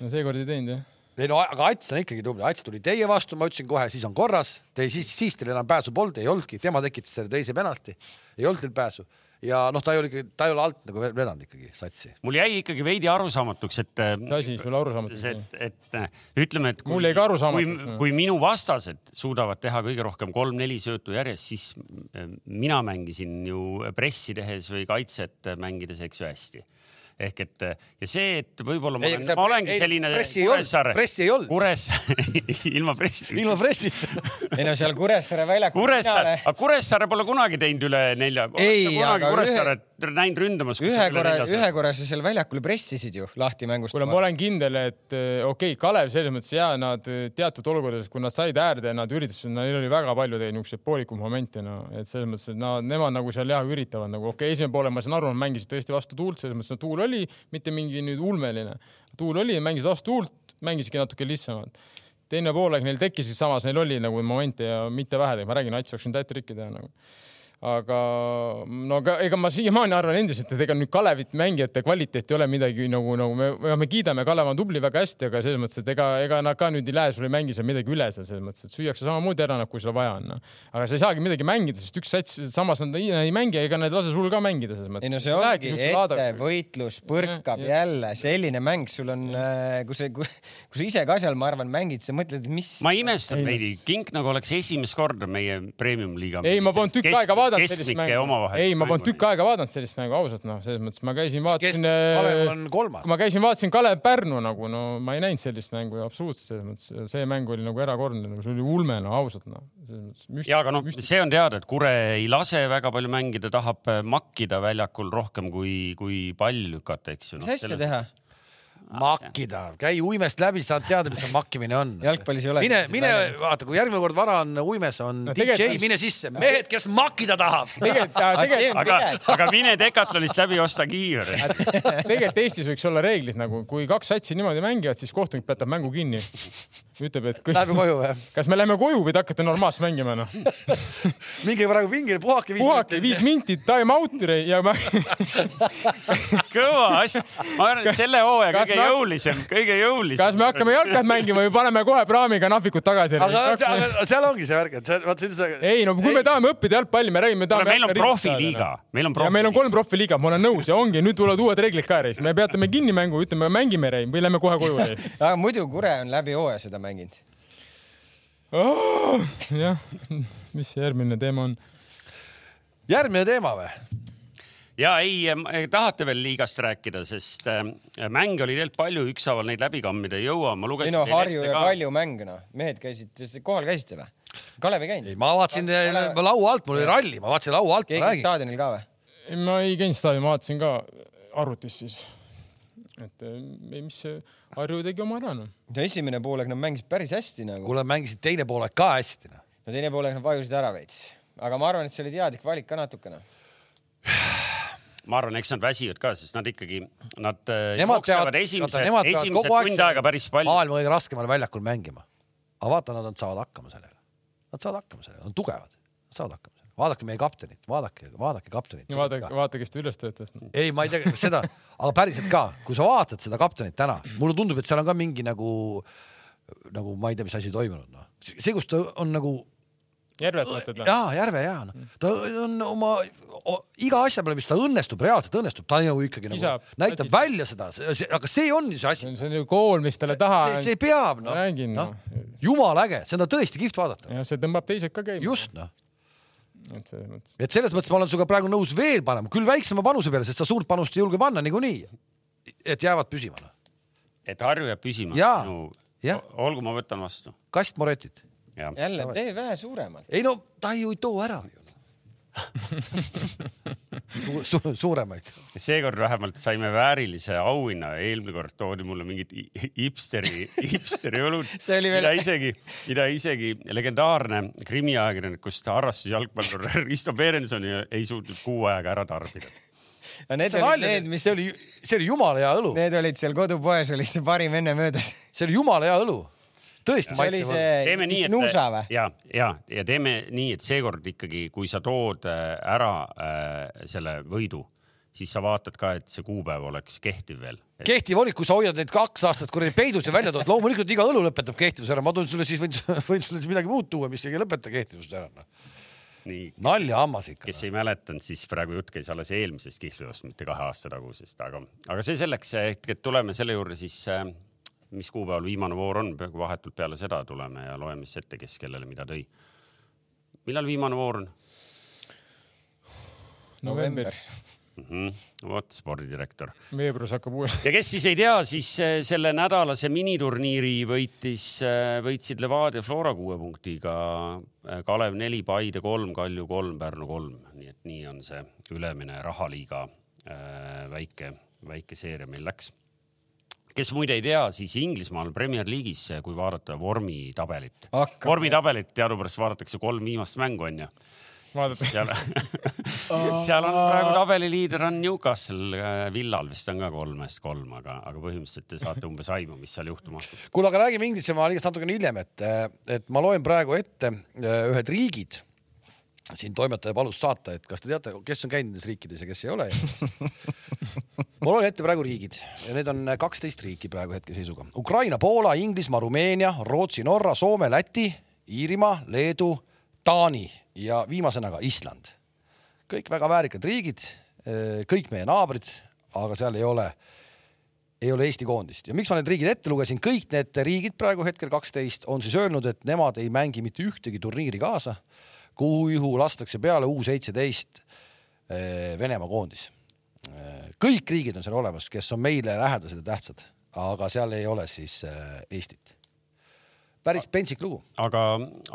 D: no seekord ei teinud jah .
A: ei no aga Ats on ikkagi tubli , Ats tuli teie vastu , ma ütlesin kohe , siis on korras , te siis , siis teil enam pääsu polnud , ei olnudki , tema tekitas selle teise penalti , ei olnud teil pääsu ja noh , ta ei ole ikka , ta ei ole alt nagu vedanud ikkagi satsi .
B: mul jäi ikkagi veidi arusaamatuks , et .
D: mis asi sulle arusaamatuks
B: see
D: jäi ?,
B: et , et ütleme , et
D: Mul jäi ka arusaamatuks.
B: kui, kui minu vastased suudavad teha kõige rohkem kolm-neli söötu järjest , siis eh, mina mängisin ju pressi tehes või kaitset mängides , eks ju , hästi ehk et eh, ja see , et võib-olla ma,
A: Ei, aga
B: olen,
A: seal
B: ma
A: pre-
B: olengi
A: ei,
B: selline
A: pressi ei olnud, pressi ei olnud.
B: Kuressaare , [laughs] ilma pressita .
A: ilma pressita . [laughs]
C: ei no seal Kuressaare väljakul .
B: Kuressaare , aga Kuressaare pole kunagi teinud üle nelja .
C: Ei,
B: kunagi
C: aga
B: Kuressaaret ühe... näinud ründamas .
C: ühe korra , ühe korra sa seal väljakul pressisid ju lahti mängust .
D: kuule , ma olen kindel , et eh, okei okay, , Kalev selles mõttes ja nad eh, teatud olukordades , kui nad said äärde , nad üritasid , neil oli väga palju teil niisuguseid poolikuid momente , no et selles mõttes , et nad , nemad nagu seal jah üritavad nagu okei okay, , esimene poole ma saan aru , nad mängisid tõesti vastu tuult , selles mõttes , et tuul oli mitte mingi nüüd ulmeline , tuul oli , mängisid vastu tuult , mängisidki natuke lihtsamalt teine poolaeg neil tekkisid , samas neil oli nagu momente ja mitte vähe , ma räägin , Ats oleks võinud täitrikki teha nagu . aga no aga ega ma siiamaani arvan endiselt , et ega nüüd Kalevit mängijate kvaliteet ei ole midagi nagu , nagu me , me kiidame , Kalev on tubli väga hästi , aga selles mõttes , et ega , ega nad ka nüüd ei lähe sulle , ei mängi seal midagi üle seal selles mõttes , et süüakse samamoodi ära , nagu sul vaja on no. . aga sa ei saagi midagi mängida , sest üks sats , samas nad ei, ei mängi , ega nad ei lase sul ka mängida selles mõttes .
C: ei no see ongi ettevõitlus , põrkab
D: Jah, jah.
C: jälle , selline mäng sul on , kui sa , kui kui sa ise ka seal , ma arvan , mängid , sa mõtled , mis .
B: ma imestan veidi , Kink nagu oleks esimest korda meie premium-liiga .
D: ei , ma polnud tükk aega vaadanud sellist
B: keskmike
D: mängu
B: omavahel .
D: ei , ma polnud tükk aega vaadanud sellist mängu , ausalt noh , selles mõttes ma käisin ,
A: kes ,
D: vaatasin .
A: Kalev on kolmas
D: kui . ma käisin , vaatasin Kalev Pärnu nagu , no ma ei näinud sellist mängu absoluutselt selles mõttes , see mäng oli nagu erakordne , nagu see oli ulme , no ausalt noh , selles mõttes müst- .
B: ja aga noh , see on teada , et Kure ei lase väga palju mängida , tahab äh, makkida väljakul rohkem kui , kui pall lükata , eks ju . noh,
C: mis asja teha ?
A: Ah, makkida , käi uimest läbi , saad teada , mis see makkimine on . [laughs]
C: Jalgpallis ei ole
A: mine ,
C: seda
A: mine
C: väljas.
A: vaata , kui järgmine kord vara on uimes , on no, DJ ,
D: tegelikult-
A: mine sisse , mehed , kes makkida [laughs] tahab .
D: tegelikult , tegelikult ,
B: aga , [laughs] aga mine Decathlonist läbi osta kiivri .
D: tegelikult Eestis võiks olla reeglid nagu , kui kaks satsi niimoodi mängivad , siis kohtunik peatab mängu kinni . ütleb , et kõik ,
A: Läheme koju või ?
D: kas me lähme koju või te hakkate normaalselt mängima noh .
A: minge praegu pingile , puhake viis
D: puhake viis minti , time out'i ja ma...
B: kõva asi . ma arvan , et selle hooaja
D: Kas
B: kõige
D: me-
B: jõulisem , kõige jõulisem .
D: kas me hakkame jalkat mängima või paneme kohe praamiga nahvikud tagasi .
A: aga see- aga seal ongi see värk , et see , vaat see on see .
D: ei no kui me tahame õppida jalgpalli , me räägime , me tahame .
B: meil on profiliiga , meil on
D: ja meil
B: profiliiga .
D: on kolm profiliiga , ma olen nõus ja ongi , nüüd tulevad uued reeglid ka , me peatame kinni mängu , ütleme , mängime reim või lähme kohe koju
A: [laughs]
D: reim .
C: aga muidu Kure on läbi hooaja seda mänginud .
D: Ah, jah , mis see järgmine teema on ?
A: järgmine teema või ?
B: ja ei , tahate veel liigast rääkida , sest äh, mänge oli tegelikult palju , ükshaaval neid läbi kammida ei jõua . ma
C: ei
B: lugesin
C: no
B: teile
C: Harju
B: ette
C: ja
B: ka.
C: Kalju mäng noh , mehed käisid , kohal käisite või ? Kalev ei
A: ei ,
C: käinud ?
A: ma vaatasin eh, laua alt , mul oli ralli , ma vaatasin laua alt , ma
C: keegi
A: räägin .
C: staadionil ka või ?
D: ma ei käinud staadionil , ma vaatasin ka arvutis siis . et eh, mis see Harju tegi oma ära noh .
C: no esimene poolek nad mängisid päris hästi nagu ,
A: kuule , mängisid teine poolek ka hästi . noh.
C: no teine poolek nad vajusid ära veits , aga ma arvan , et see oli teadlik valik ka natukene .
B: ma arvan , eks nad väsivad ka , sest nad ikkagi , nad äh,
A: Nemad peavad
B: jooksevad , esimese ,
A: nemad peavad
B: esimese
A: kogu aeg
B: tund
A: seal
B: aega päris palju .
A: maailma kõige raskemal väljakul mängima . aga vaata , nad on, saavad hakkama sellega . Nad saavad hakkama sellega , nad on tugevad , nad saavad hakkama sellega . vaadake meie kaptenit , vaadake , vaadake kaptenit .
D: ja vaadake , vaata , kes ta üles töötas .
A: ei , ma ei tea kas seda , aga päriselt ka , kui sa vaatad seda kaptenit täna , mulle tundub , et seal on ka mingi nagu , nagu ma ei tea , mis asi toimunud , noh . see , kus ta on nagu
D: Järvet mõtled või ?
A: jaa , Järve jaa no. , ta on oma o, iga asja peale , mis ta õnnestub , reaalselt õnnestub , ta nagu ikkagi nagu
D: Kisab.
A: näitab välja seda , aga see on ju see asi
D: see , on see on ju kool , mis talle taha
A: see, see . peab noh
D: Ma räägin, ,
A: noh
D: noh. ,
A: jumala äge , seda on tõesti kihvt vaadata ,
D: ja see tõmbab teised ka käima .
A: just noh
D: et selles mõttes .
A: et selles mõttes ma olen sinuga praegu nõus veel panema , küll väiksema panuse peale , sest sa suurt panust ei julge panna niikuinii . et jäävad püsima noh ,
B: et Harju jääb püsima .
A: Jaa, jah.
B: olgu , ma võtan vastu .
A: kastmoretid .
B: jah ,
C: jälle , tee vähe suuremalt .
A: ei no ta ju ei too ära ju noh. su, . Su, suuremaid .
B: seekord vähemalt saime väärilise auhinna , eelmine kord toodi mulle mingit i- hipsteri , hipsteri õlut ,
C: [laughs] See oli veel-
B: mida isegi , mida isegi legendaarne krimiajakirjanikust harrastusjalgpallur [laughs] Risto Berensoni ei suutnud kuu ajaga ära tarbida .
C: aga need
A: see
C: olid need , mis ,
A: oli , see oli jumala hea õlu ,
C: need olid seal kodupoes , oli see parim enne möödas .
A: see oli jumala hea õlu . tõesti
C: see oli
A: maitsev see... .
B: teeme nii ,
C: see
B: et
C: Äh, Nuusa või ?
B: ja , ja , ja teeme nii , et seekord ikkagi , kui sa tood äh, ära äh, selle võidu , siis sa vaatad ka , et see kuupäev oleks kehtiv veel .
A: kehtiv oli , kui sa hoiad neid kaks aastat kuradi peidus ja välja tood , loomulikult iga õlu lõpetab kehtivuse ära , ma toon sulle siis , võin , võin sulle siis midagi muud tuua , mis ei lõpeta kehtivust ära noh.
B: nii ,
A: nalja hammas ikka .
B: kes ei mäletanud , siis praegu jutt käis alles eelmisest kihlveost , mitte kahe aasta tagusest , aga , aga see selleks , ehk et tuleme selle juurde siis , mis kuupäeval viimane voor on , peaaegu vahetult peale seda tuleme ja loeme siis ette , kes kellele mida tõi . millal viimane voor on
D: november ,
B: mm ? -hmm. vot spordidirektor .
D: veebruaris hakkab uuesti .
B: ja kes siis ei tea , siis eh, selle nädalase miniturniiri võitis , võitsid Levadia Flora kuue punktiga , Kalev neli , Paide kolm , Kalju kolm , Pärnu kolm , nii et nii on see ülemine rahaliiga eh, väike , väike seeria meil läks kes muide ei tea , siis Inglismaal Premier League'is , kui vaadata vormitabelit ,
C: Hakkame.
B: vormitabelit teadupärast vaadatakse kolm viimast mängu onju .
D: vaadata .
B: seal , [laughs]
A: [laughs]
B: seal on praegu tabeliliider on Newcastle , Villal vist on ka kolmest kolm , aga , aga põhimõtteliselt te saate umbes aimu , mis seal juhtuma hakkab .
A: kuule , aga räägime Inglismaa liigast natukene hiljem , et , et ma loen praegu ette äh, ühed riigid . siin toimetaja palus saata , et kas te teate , kes on käinud nendes riikides ja kes ei ole . ma loen ette praegu riigid ja need on kaksteist riiki praegu hetkeseisuga . Ukraina , Poola , Inglismaa , Rumeenia , Rootsi , Norra , Soome , Läti , Iirimaa , Leedu , Taani ja viimasena ka Island . kõik väga väärikad riigid , kõik meie naabrid , aga seal ei ole ei ole Eesti koondist ja miks ma need riigid ette lugesin , kõik need riigid praegu hetkel kaksteist on siis öelnud , et nemad ei mängi mitte ühtegi turniiri kaasa , kuhu lastakse peale U seitseteist eh, Venemaa koondis . kõik riigid on seal olemas , kes on meile lähedased ja tähtsad , aga seal ei ole siis eh, Eestit . päris pentsik lugu .
B: aga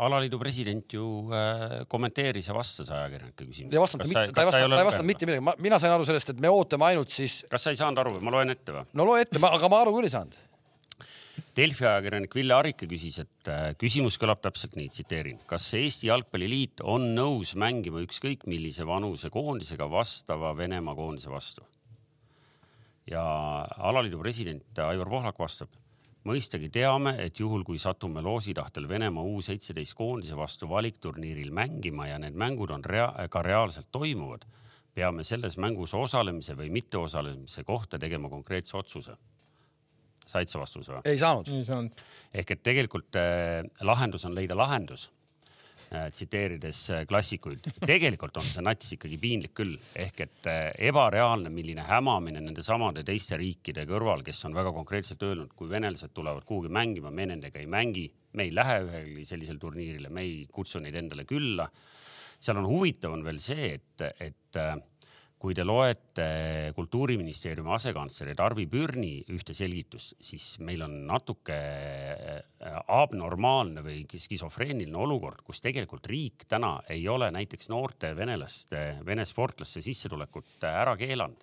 B: alaliidu president ju äh, kommenteeris ja vastas ajakirjanike küsimusele .
A: ei vastanud , ta ei vastanud , ta ei vastanud mitte midagi , mina sain aru sellest , et me ootame ainult siis ,
B: kas sa ei saanud aru , ma loen ette või ?
A: no loe ette , aga ma aru küll ei saanud .
B: Delfi ajakirjanik Ville Arike küsis , et äh, küsimus kõlab täpselt nii , tsiteerin . kas Eesti Jalgpalliliit on nõus mängima ükskõik millise vanusekoondisega vastava Venemaa koondise vastu ? ja alaliidu president Aivar Pohlak vastab . mõistagi teame , et juhul kui satume loositahtel Venemaa U seitseteist koondise vastu valikturniiril mängima ja need mängud on rea ka reaalselt toimuvad , peame selles mängus osalemise või mitteosalemise kohta tegema konkreetse otsuse . said sa vastuse või ?
A: ei saanud .
D: ei saanud .
B: ehk et tegelikult eh, lahendus on leida lahendus Eh, tsiteerides eh, klassikuid , tegelikult on see nats ikkagi piinlik küll , ehk et eh, ebareaalne , milline hämamine nendesamade teiste riikide kõrval , kes on väga konkreetselt öelnud , kui venelased tulevad kuhugi mängima , me nendega ei mängi , me ei lähe ühelgi sellisel turniirile , me ei kutsu neid endale külla . seal on huvitav on veel see , et , et eh, kui te loete kultuuriministeeriumi asekantsleri Tarvi Pürni ühte selgitust , siis meil on natuke äh, abnormaalne või skisofreeniline olukord , kus tegelikult riik täna ei ole näiteks noorte venelaste , vene sportlaste sissetulekut ära keelanud .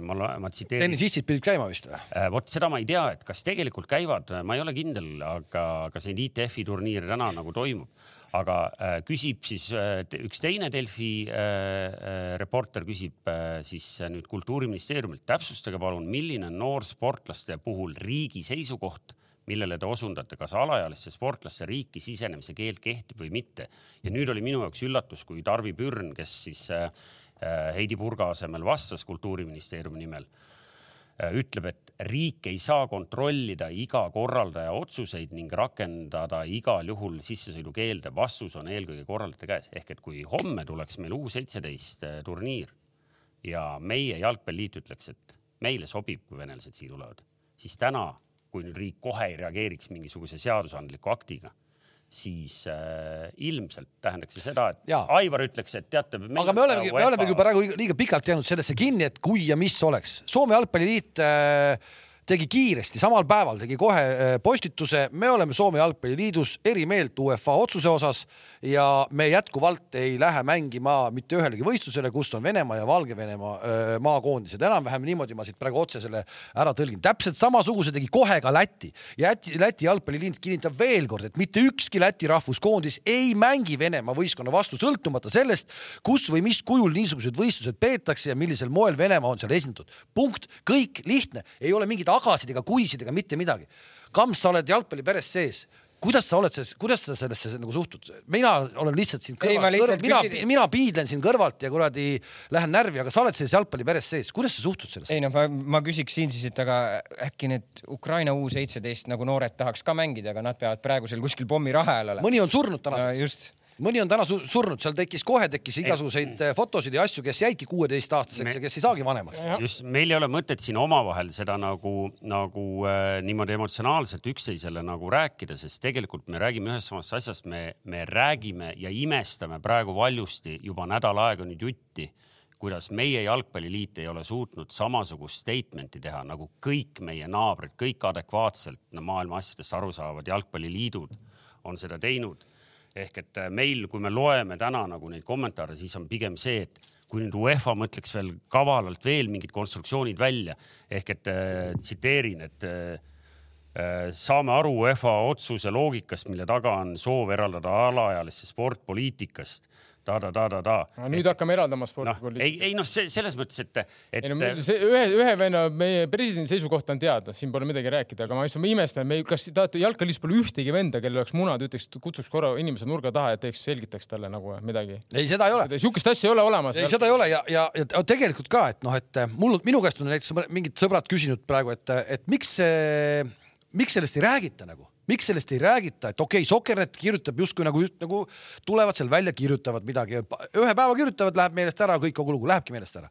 B: ma , ma tsiteerin .
A: tennisistid pidid käima vist või ?
B: Äh, vot seda ma ei tea , et kas tegelikult käivad , ma ei ole kindel , aga kas neid ITF-i turniire täna nagu toimub , aga äh, küsib siis äh, te- üks teine Delfi äh, äh, reporter küsib äh, siis äh, nüüd kultuuriministeeriumilt , täpsustage palun , milline on noorsportlaste puhul riigi seisukoht , millele te osundate , kas alaealiste sportlaste riiki sisenemise keeld kehtib või mitte . ja nüüd oli minu jaoks üllatus , kui Tarvi Pürn , kes siis äh, äh, Heidi Purga asemel vastas kultuuriministeeriumi nimel äh, ütleb , et riik ei saa kontrollida iga korraldaja otsuseid ning rakendada igal juhul sissesõidukeelde . vastus on eelkõige korraldajate käes ehk et kui homme tuleks meil U17 turniir ja meie jalgpalliliit ütleks , et meile sobib , kui venelased siia tulevad , siis täna , kui nüüd riik kohe ei reageeriks mingisuguse seadusandliku aktiga , siis äh, ilmselt tähendaks see seda , et
A: Jaa.
B: Aivar ütleks , et teate .
A: aga me olemegi , me olemegi praegu liiga- liiga pikalt jäänud sellesse kinni , et kui ja mis oleks . Soome jalgpalliliit äh, tegi kiiresti , samal päeval tegi kohe äh, postituse , me oleme Soome jalgpalliliidus eri meelt UEFA otsuse osas ja me jätkuvalt ei lähe mängima mitte ühelegi võistlusele , kus on Venemaa ja Valgevenemaa äh, maakoondised , enam-vähem niimoodi ma siit praegu otse selle ära tõlgin . täpselt samasuguse tegi kohe ka Läti ja Läti, Läti jalgpalliliit kinnitab veel kord , et mitte ükski Läti rahvuskoondis ei mängi Venemaa võistkonna vastu , sõltumata sellest , kus või mis kujul niisugused võistlused peetakse ja millisel moel Venemaa on seal esindatud . punkt , kõik lihtne , ei ole mingeid agasid ega kuisid ega mitte midagi . Kamps , sa oled jalgpalliperes sees kuidas sa oled selles , kuidas sa sellesse nagu suhtud ? mina olen lihtsalt siin
C: Ei, ma
A: kõrval ,
C: lihtsalt
A: kõrval , mina
C: küsin- ,
A: mina piidlen siin kõrvalt ja kuradi lähen närvi , aga sa oled selles jalgpalliperes sees , kuidas sa suhtud sellesse ?
C: [laughs] ei noh , ma, ma küsiks siin siis , et aga äkki need Ukraina U seitseteist nagu noored tahaks ka mängida , aga nad peavad praegu seal kuskil pommirahe all olema .
A: Äh, mõni on surnud tänaseks
C: No just.
A: mõni on täna su surnud , seal tekkis kohe tekkis igasuguseid eh, fotosid ja asju , kes jäidki kuueteistaastaseks
B: Me-
A: ja kes ei saagi vanemaks .
B: just , meil ei ole mõtet siin omavahel seda nagu , nagu äh, niimoodi emotsionaalselt üksteisele nagu rääkida , sest tegelikult me räägime ühest samast asjast , me , me räägime ja imestame praegu valjusti juba nädal aega nüüd jutti , kuidas meie jalgpalliliit ei ole suutnud samasugust statement'i teha nagu kõik meie naabrid , kõik adekvaatselt no, maailma asjadest aru saavad jalgpalliliidud on seda teinud ehk et äh, meil , kui me loeme täna nagu neid kommentaare , siis on pigem see , et kui nüüd UEFA mõtleks veel kavalalt veel mingid konstruktsioonid välja ehk et äh, tsiteerin , et äh, äh, saame aru UEFA otsuse loogikast , mille taga on soov eraldada alaealisse sportpoliitikast ta-ta-ta-ta-ta .
D: aga nüüd hakkame eraldama
B: noh ,
D: spordipoliitikat .
B: ei , ei noh , see selles mõttes , et , et
D: ei no meil- see ühe , ühe venna , meie presidendi seisukoht on teada , siin pole midagi rääkida , aga ma lihtsalt ma imestan , me ei , kas tahate jalgpallis pole ühtegi venda , kellel oleks munad , ütleks , kutsuks korra inimese nurga taha ja teeks , selgitaks talle nagu midagi .
A: ei , seda ei ole .
D: sihukest asja ei ole olemas .
A: ei , seda ei ole ja , ja , ja tegelikult ka , et noh , et mul , minu eh, käest on näiteks mõne- mingid sõbrad küsinud praegu , et , et miks , miks sellest ei räägita nagu miks sellest ei räägita , et okei okay, , Sokernet kirjutab justkui nagu , nagu tulevad seal välja , kirjutavad midagi , ühe päeva kirjutavad , läheb meelest ära , kõik kogu lugu lähebki meelest ära .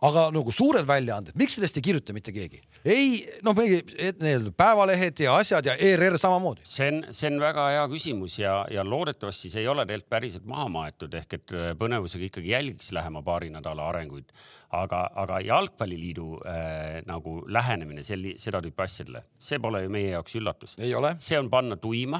A: aga nagu suured väljaanded , miks sellest ei kirjuta mitte keegi ? ei , noh , meie et need päevalehed ja asjad ja ERR samamoodi .
B: see on , see on väga hea küsimus ja , ja loodetavasti see ei ole tegelikult päriselt maha maetud , ehk et äh, põnevusega ikkagi jälgiks lähema paari nädala arenguid . aga , aga Jalgpalliliidu äh, nagu lähenemine selli- , seda tüüpi asjadele , see pole ju meie jaoks üllatus .
A: ei ole .
B: see on panna tuima ,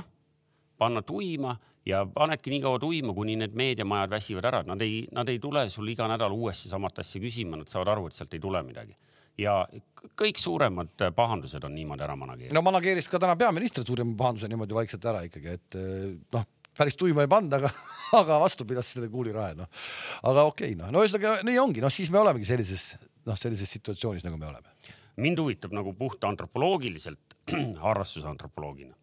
B: panna tuima ja panedki nii kaua tuima , kuni need meediamajad väsivad ära , et nad ei , nad ei tule sulle iga nädal uuesti samat asja küsima , nad saavad aru , et sealt ei tule midagi . ja k- kõik suuremad äh, pahandused on niimoodi ära manageeritud .
A: no manageeris ka täna peaminister suurema pahanduse niimoodi vaikselt ära ikkagi , et eh, noh , päris tuima ei pannud , aga , [laughs] aga vastu pidas selle kuulirahe , noh . aga okei okay, , noh , no ühesõnaga nii ongi , noh , siis me olemegi sellises , noh , sellises situatsioonis , nagu me oleme .
B: mind huvitab nagu puht antropoloogiliselt , [clears throat] harrastusantropoloogina .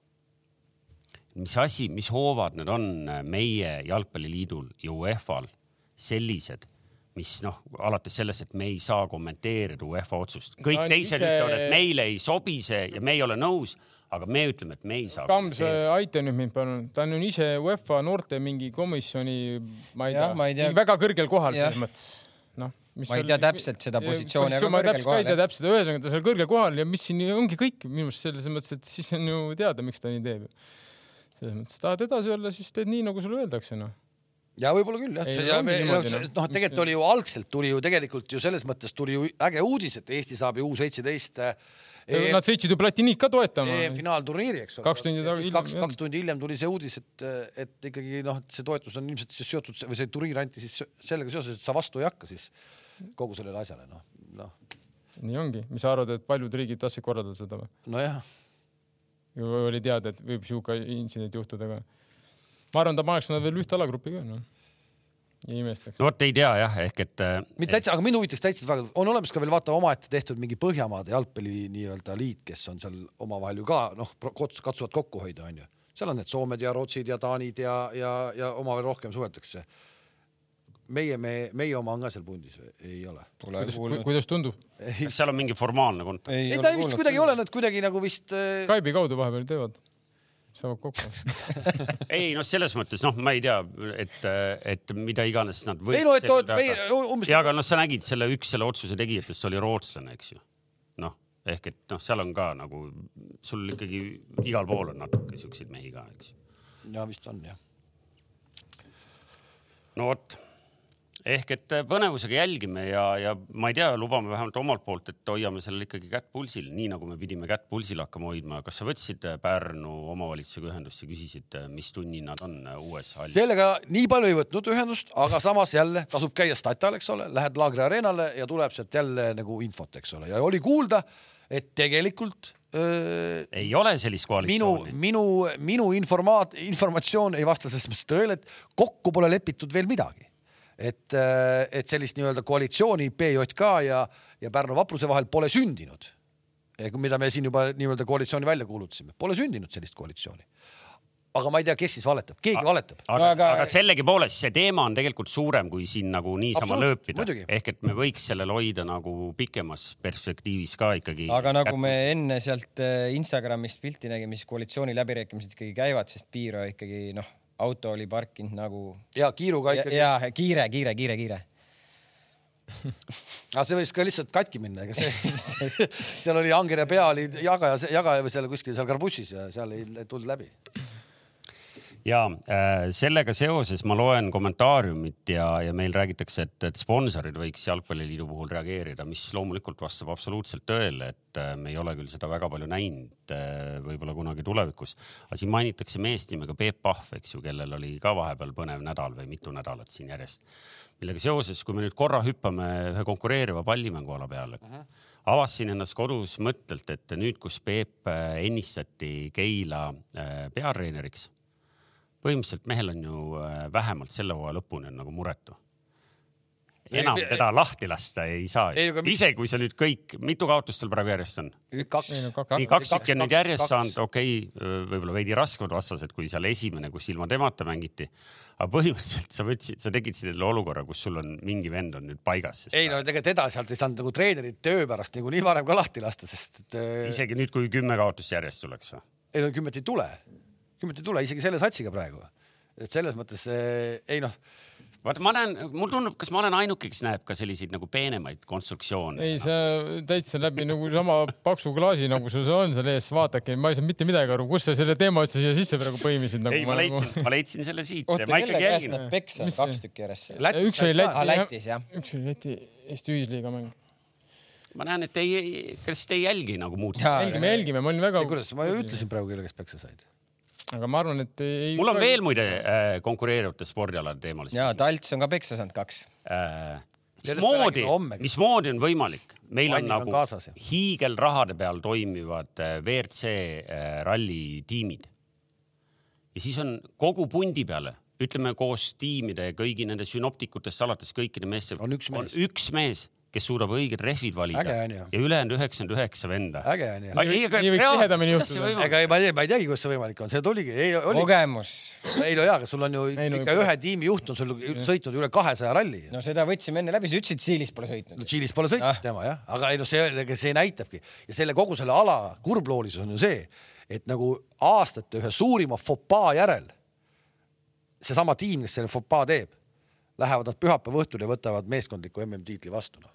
B: mis asi , mis hoovad need on meie Jalgpalliliidul ja UEFA-l sellised , mis noh , alates sellest , et me ei saa kommenteerida UEFA otsust , kõik
D: No
B: no, teised
D: ise-
B: ise... ütlevad , et meile ei sobi see ja me ei ole nõus , aga me ütleme , et me ei saa .
D: Kams , aita nüüd mind palun , ta on ju ise UEFA noorte mingi komisjoni , ma ei
C: Jah,
D: tea,
C: ma ei tea.
D: mingi väga kõrgel kohal
C: Jah.
D: selles mõttes . noh , mis
C: Ma ei
D: seal-
C: tea täpselt seda positsiooni, aga
D: ma
C: kõrgel
D: täpselt ka
C: kohal,
D: ei tea
C: jah.
D: täpselt , ühesõnaga ta seal kõrgel kohal ja mis siin ongi kõik minu arust selles mõttes , et siis on ju teada , miks ta nii teeb . selles mõttes , tahad edasi olla , siis teed nii , nagu sulle öeldakse , noh .
A: ja võib-olla küll jah
D: Ei, ,
A: ja,
D: ongi
A: me-
D: niimoodi, noh.
A: noh , tegelikult oli ju algselt tuli ju tegelikult ju selles mõttes tuli ju äge uudis , et Eesti saab ju U seitseteist
C: E-
D: Nad sõitsid ju Platinit ka toetama .
A: EM-finaalturniiri , eks ole .
D: Kaks tundi tagasi
A: tagasi .
D: hiljem,
A: kaks ,
D: jah.
A: kaks tundi hiljem tuli see uudis , et , et ikkagi noh , et see toetus on ilmselt siis seotud või see turniir anti siis sellega seoses , et sa vastu ei hakka siis kogu sellele asjale noh , noh ,
D: nii ongi , mis sa arvad , et paljud riigid tahtsid korraldada seda või ?
A: nojah .
D: oli teada , et võib sihuke intsident juhtuda ka . ma arvan , ta paneks nad veel ühte alagrupi ka , noh . ei imestaks .
B: no vot ei tea jah , ehk et .
A: mitte täitsa , aga mind huvitaks täitsa väga , on olemas ka veel vaata omaette tehtud mingi Põhjamaade jalgpalli nii-öelda liit , kes on seal omavahel ju ka noh , katsuvad kokku hoida , onju . seal on need Soomed ja Rootsid ja Taanid ja , ja , ja omavahel rohkem suhetakse . meie , me , meie oma on ka seal pundis või ei ole ?
C: Pole
D: kuidas ,
C: kuulnud .
D: kuidas tundub ?
B: eh, kas seal on mingi formaalne kont- ?
A: ei ta vist kuidagi ei ole , nad kuidagi nagu vist äh,
D: Skype'i kaudu vahepeal teevad , saavad kokku .
B: ei noh , selles mõttes noh , ma ei tea , et , et mida iganes nad võiks
A: Ei no, et oot- ei, umbes-
B: ja aga noh , sa nägid selle üks selle otsuse tegijatest oli rootslane , eks ju . noh , ehk et noh , seal on ka nagu sul ikkagi igal pool on natuke siukseid mehi ka , eks ju .
A: ja vist on jah .
B: no vot ehk et eh, põnevusega jälgime ja , ja ma ei tea , lubame vähemalt omalt poolt , et hoiame sellel ikkagi kätt pulsil , nii nagu me pidime kätt pulsil hakkama hoidma . kas sa võtsid eh, Pärnu omavalitsusega ühendust ja küsisid , mis tunni nad on eh, uues hallis ?
A: sellega nii palju ei võtnud ühendust , aga samas jälle tasub käia Statal , eks ole , lähed Laagri areenale ja tuleb sealt jälle nagu infot , eks ole , ja oli kuulda , et tegelikult äh, öö,
B: ei ole
A: minu ,
B: sellist koalitsiooni .
A: minu , minu informaat- , informatsioon ei vasta selles mõttes tõele , et kokku pole lepitud veel midagi . et , et sellist nii-öelda koalitsiooni PJK ja , ja Pärnu vapruse vahel pole sündinud . mida me siin juba nii-öelda koalitsiooni välja kuulutasime , pole sündinud sellist koalitsiooni . aga ma ei tea , kes siis valetab , keegi valetab .
B: aga
C: No
B: no, ,
C: aga-
B: aga, aga sellegipoolest see teema on tegelikult suurem kui siin nagu niisama
A: Absoluutselt,
B: lööpida
A: muidugi. .
B: ehk et me võiks sellel hoida nagu pikemas perspektiivis ka ikkagi .
C: aga nagu me enne sealt äh, Instagramist pilti nägime , siis koalitsiooniläbirääkimised ikkagi käivad , sest piir on ikkagi noh , auto oli parkinud nagu
A: ja kiiruga
C: ja,
A: ikkagi ,
C: ja kiire , kiire , kiire , kiire .
A: aga see võis ka lihtsalt katki minna , ega see , [laughs] seal oli angerja pea oli jagaja , jagaja või seal kuskil seal karbussis ja seal ei tulnud läbi .
B: ja äh, sellega seoses ma loen kommentaariumit ja , ja meil räägitakse , et , et sponsorid võiks Jalgpalliliidu puhul reageerida , mis loomulikult vastab absoluutselt tõele , et äh, me ei ole küll seda väga palju näinud äh, , võib-olla kunagi tulevikus . aga siin mainitakse meest nimega Peep Pahv , eks ju , kellel oli ka vahepeal põnev nädal või mitu nädalat siin järjest . millega seoses , kui me nüüd korra hüppame ühe konkureeriva pallimänguala peale uh . -huh avastasin ennast kodus mõttelt , et nüüd , kus Peep äh, ennistati Keila äh, peatreeneriks , põhimõtteliselt mehel on ju äh, vähemalt selle hooaja lõpuni on nagu muretu . enam
A: Ei, ei,
B: teda lahti lasta ei saa
A: Ei, aga , mis-
B: isegi kui sa nüüd kõik , mitu kaotust tal praegu järjest on ?
A: üks ,
D: Kaks-
B: nii kaks tükki on nüüd
A: kaks-
B: järjest
A: kaks-
B: saanud , okei okay, , võib-olla veidi raskemad vastased kui seal esimene , kus ilma temata mängiti . aga põhimõtteliselt sa võtsid , sa tegid selle olukorra , kus sul on mingi vend on nüüd paigas .
A: ei no ega teda sealt ei saanud nagu treenerit töö pärast niikuinii varem ka lahti lasta , sest et .
B: isegi nüüd , kui kümme kaotust järjest tuleks või ?
A: ei no kümmet ei tule, kümmet ei tule isegi selle satsiga praegu. et selles mõttes eh, ei noh,
B: vaata , ma näen , mulle tundub , kas ma olen ainuke , kes näeb ka selliseid nagu peenemaid konstruktsioone .
D: ei , see täitsa läbi nagu sama paksu klaasi , nagu sul seal on seal ees , vaadake , ma ei saanud mitte midagi aru , kus sa selle teema üldse siia sisse praegu põimisid nagu .
B: ei , ma leidsin , ma leidsin selle siit ja
C: oota ,
B: ma ikkagi
C: kelle käest
B: jälgin .
C: nad peksa
D: Mis-
C: kaks tükki järjest seal ?
A: Lätis
D: üks oli
A: said ka.
C: Aa,
D: Läti
C: Lätis, jah.
D: üks oli Läti Eesti ühisliiga mäng .
B: ma näen , et te ei , kas te ei jälgi nagu muud ?
C: Jaa.
D: jälgime , jälgime , ma olin väga
A: ei , kuidas , ma ju ütlesin praegu , kelle käest peksa said .
D: aga ma arvan , et ei .
B: mul on veel muide äh, konkureerivate spordialade teemal .
C: ja Talts on ka peksa saanud kaks .
B: Äh,
A: Sellest
B: mismoodi
A: me räägime homme. ,
B: mismoodi on võimalik , meil on
A: Vannid on
B: nagu
A: kaasas ja-
B: hiigelrahade peal toimivad äh, WRC äh, rallitiimid . ja siis on kogu pundi peale , ütleme koos tiimide ja kõigi nende sünoptikutest alates kõikide meeste
A: On üks mees.
B: üks mees , kes suudab õiged rehvid valida
A: Äge on ju.
B: ja ülejäänud üheksakümmend üheksa venda .
A: äge on ju .
D: Nii võiks tihedamini juhtuda.
A: ega ei , ma ei , ma ei teagi , kuidas see võimalik on , see tuligi , ei oli ,
C: kogemus .
A: ei no jaa , aga sul on ju
D: Ei, no
A: ikka
D: ikka.
A: ühe tiimi juht on sul sõitnud üle kahesaja ralli .
C: no seda võtsime enne läbi , sa ütlesid , Siilis pole sõitnud
A: no . Tšiilis pole sõitnud
C: Ah.
A: ah. tema jah , aga ei noh , see , see näitabki ja selle kogu selle ala kurbloolisus on ju see , et nagu aastate ühe suurima fopaa järel seesama tiim , kes selle fopaa teeb , lähevad nad pühapäeva õhtul ja võtavad meeskondliku MM-tiitli vastu noh .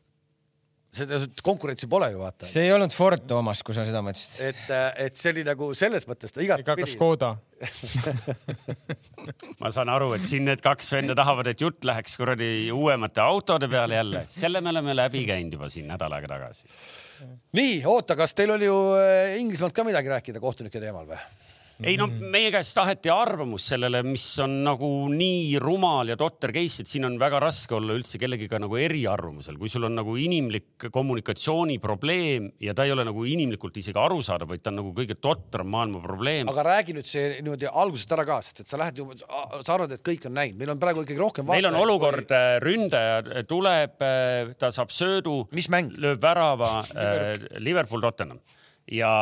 A: seda konkurentsi pole ju vaata ,
C: see ei olnud Ford , Toomas , kui sa seda mõtlesid .
A: et , et see oli nagu selles mõttes ta
D: ega ka
A: igatpidi .
D: Škoda .
B: ma saan aru , et siin need kaks venda tahavad , et jutt läheks kuradi uuemate autode peale jälle , selle me oleme läbi käinud juba siin nädal aega tagasi .
A: nii oota , kas teil oli ju äh, Inglismaalt ka midagi rääkida kohtunike teemal või ?
B: ei no meie käest taheti arvamust sellele , mis on nagu nii rumal ja totter case , et siin on väga raske olla üldse kellegiga nagu eriarvamusel , kui sul on nagu inimlik kommunikatsiooniprobleem ja ta ei ole nagu inimlikult isegi arusaadav , vaid ta on nagu kõige totram maailma probleem .
A: aga räägi nüüd see niimoodi algusest ära ka , sest et sa lähed ju , sa arvad , et kõik on näinud , meil on praegu ikkagi rohkem .
B: meil on olukord , ründaja äh, tuleb , ta saab söödu ,
A: mis mäng ?
B: lööb
C: [laughs]
B: värava äh, Liverpool Tottenham ja ,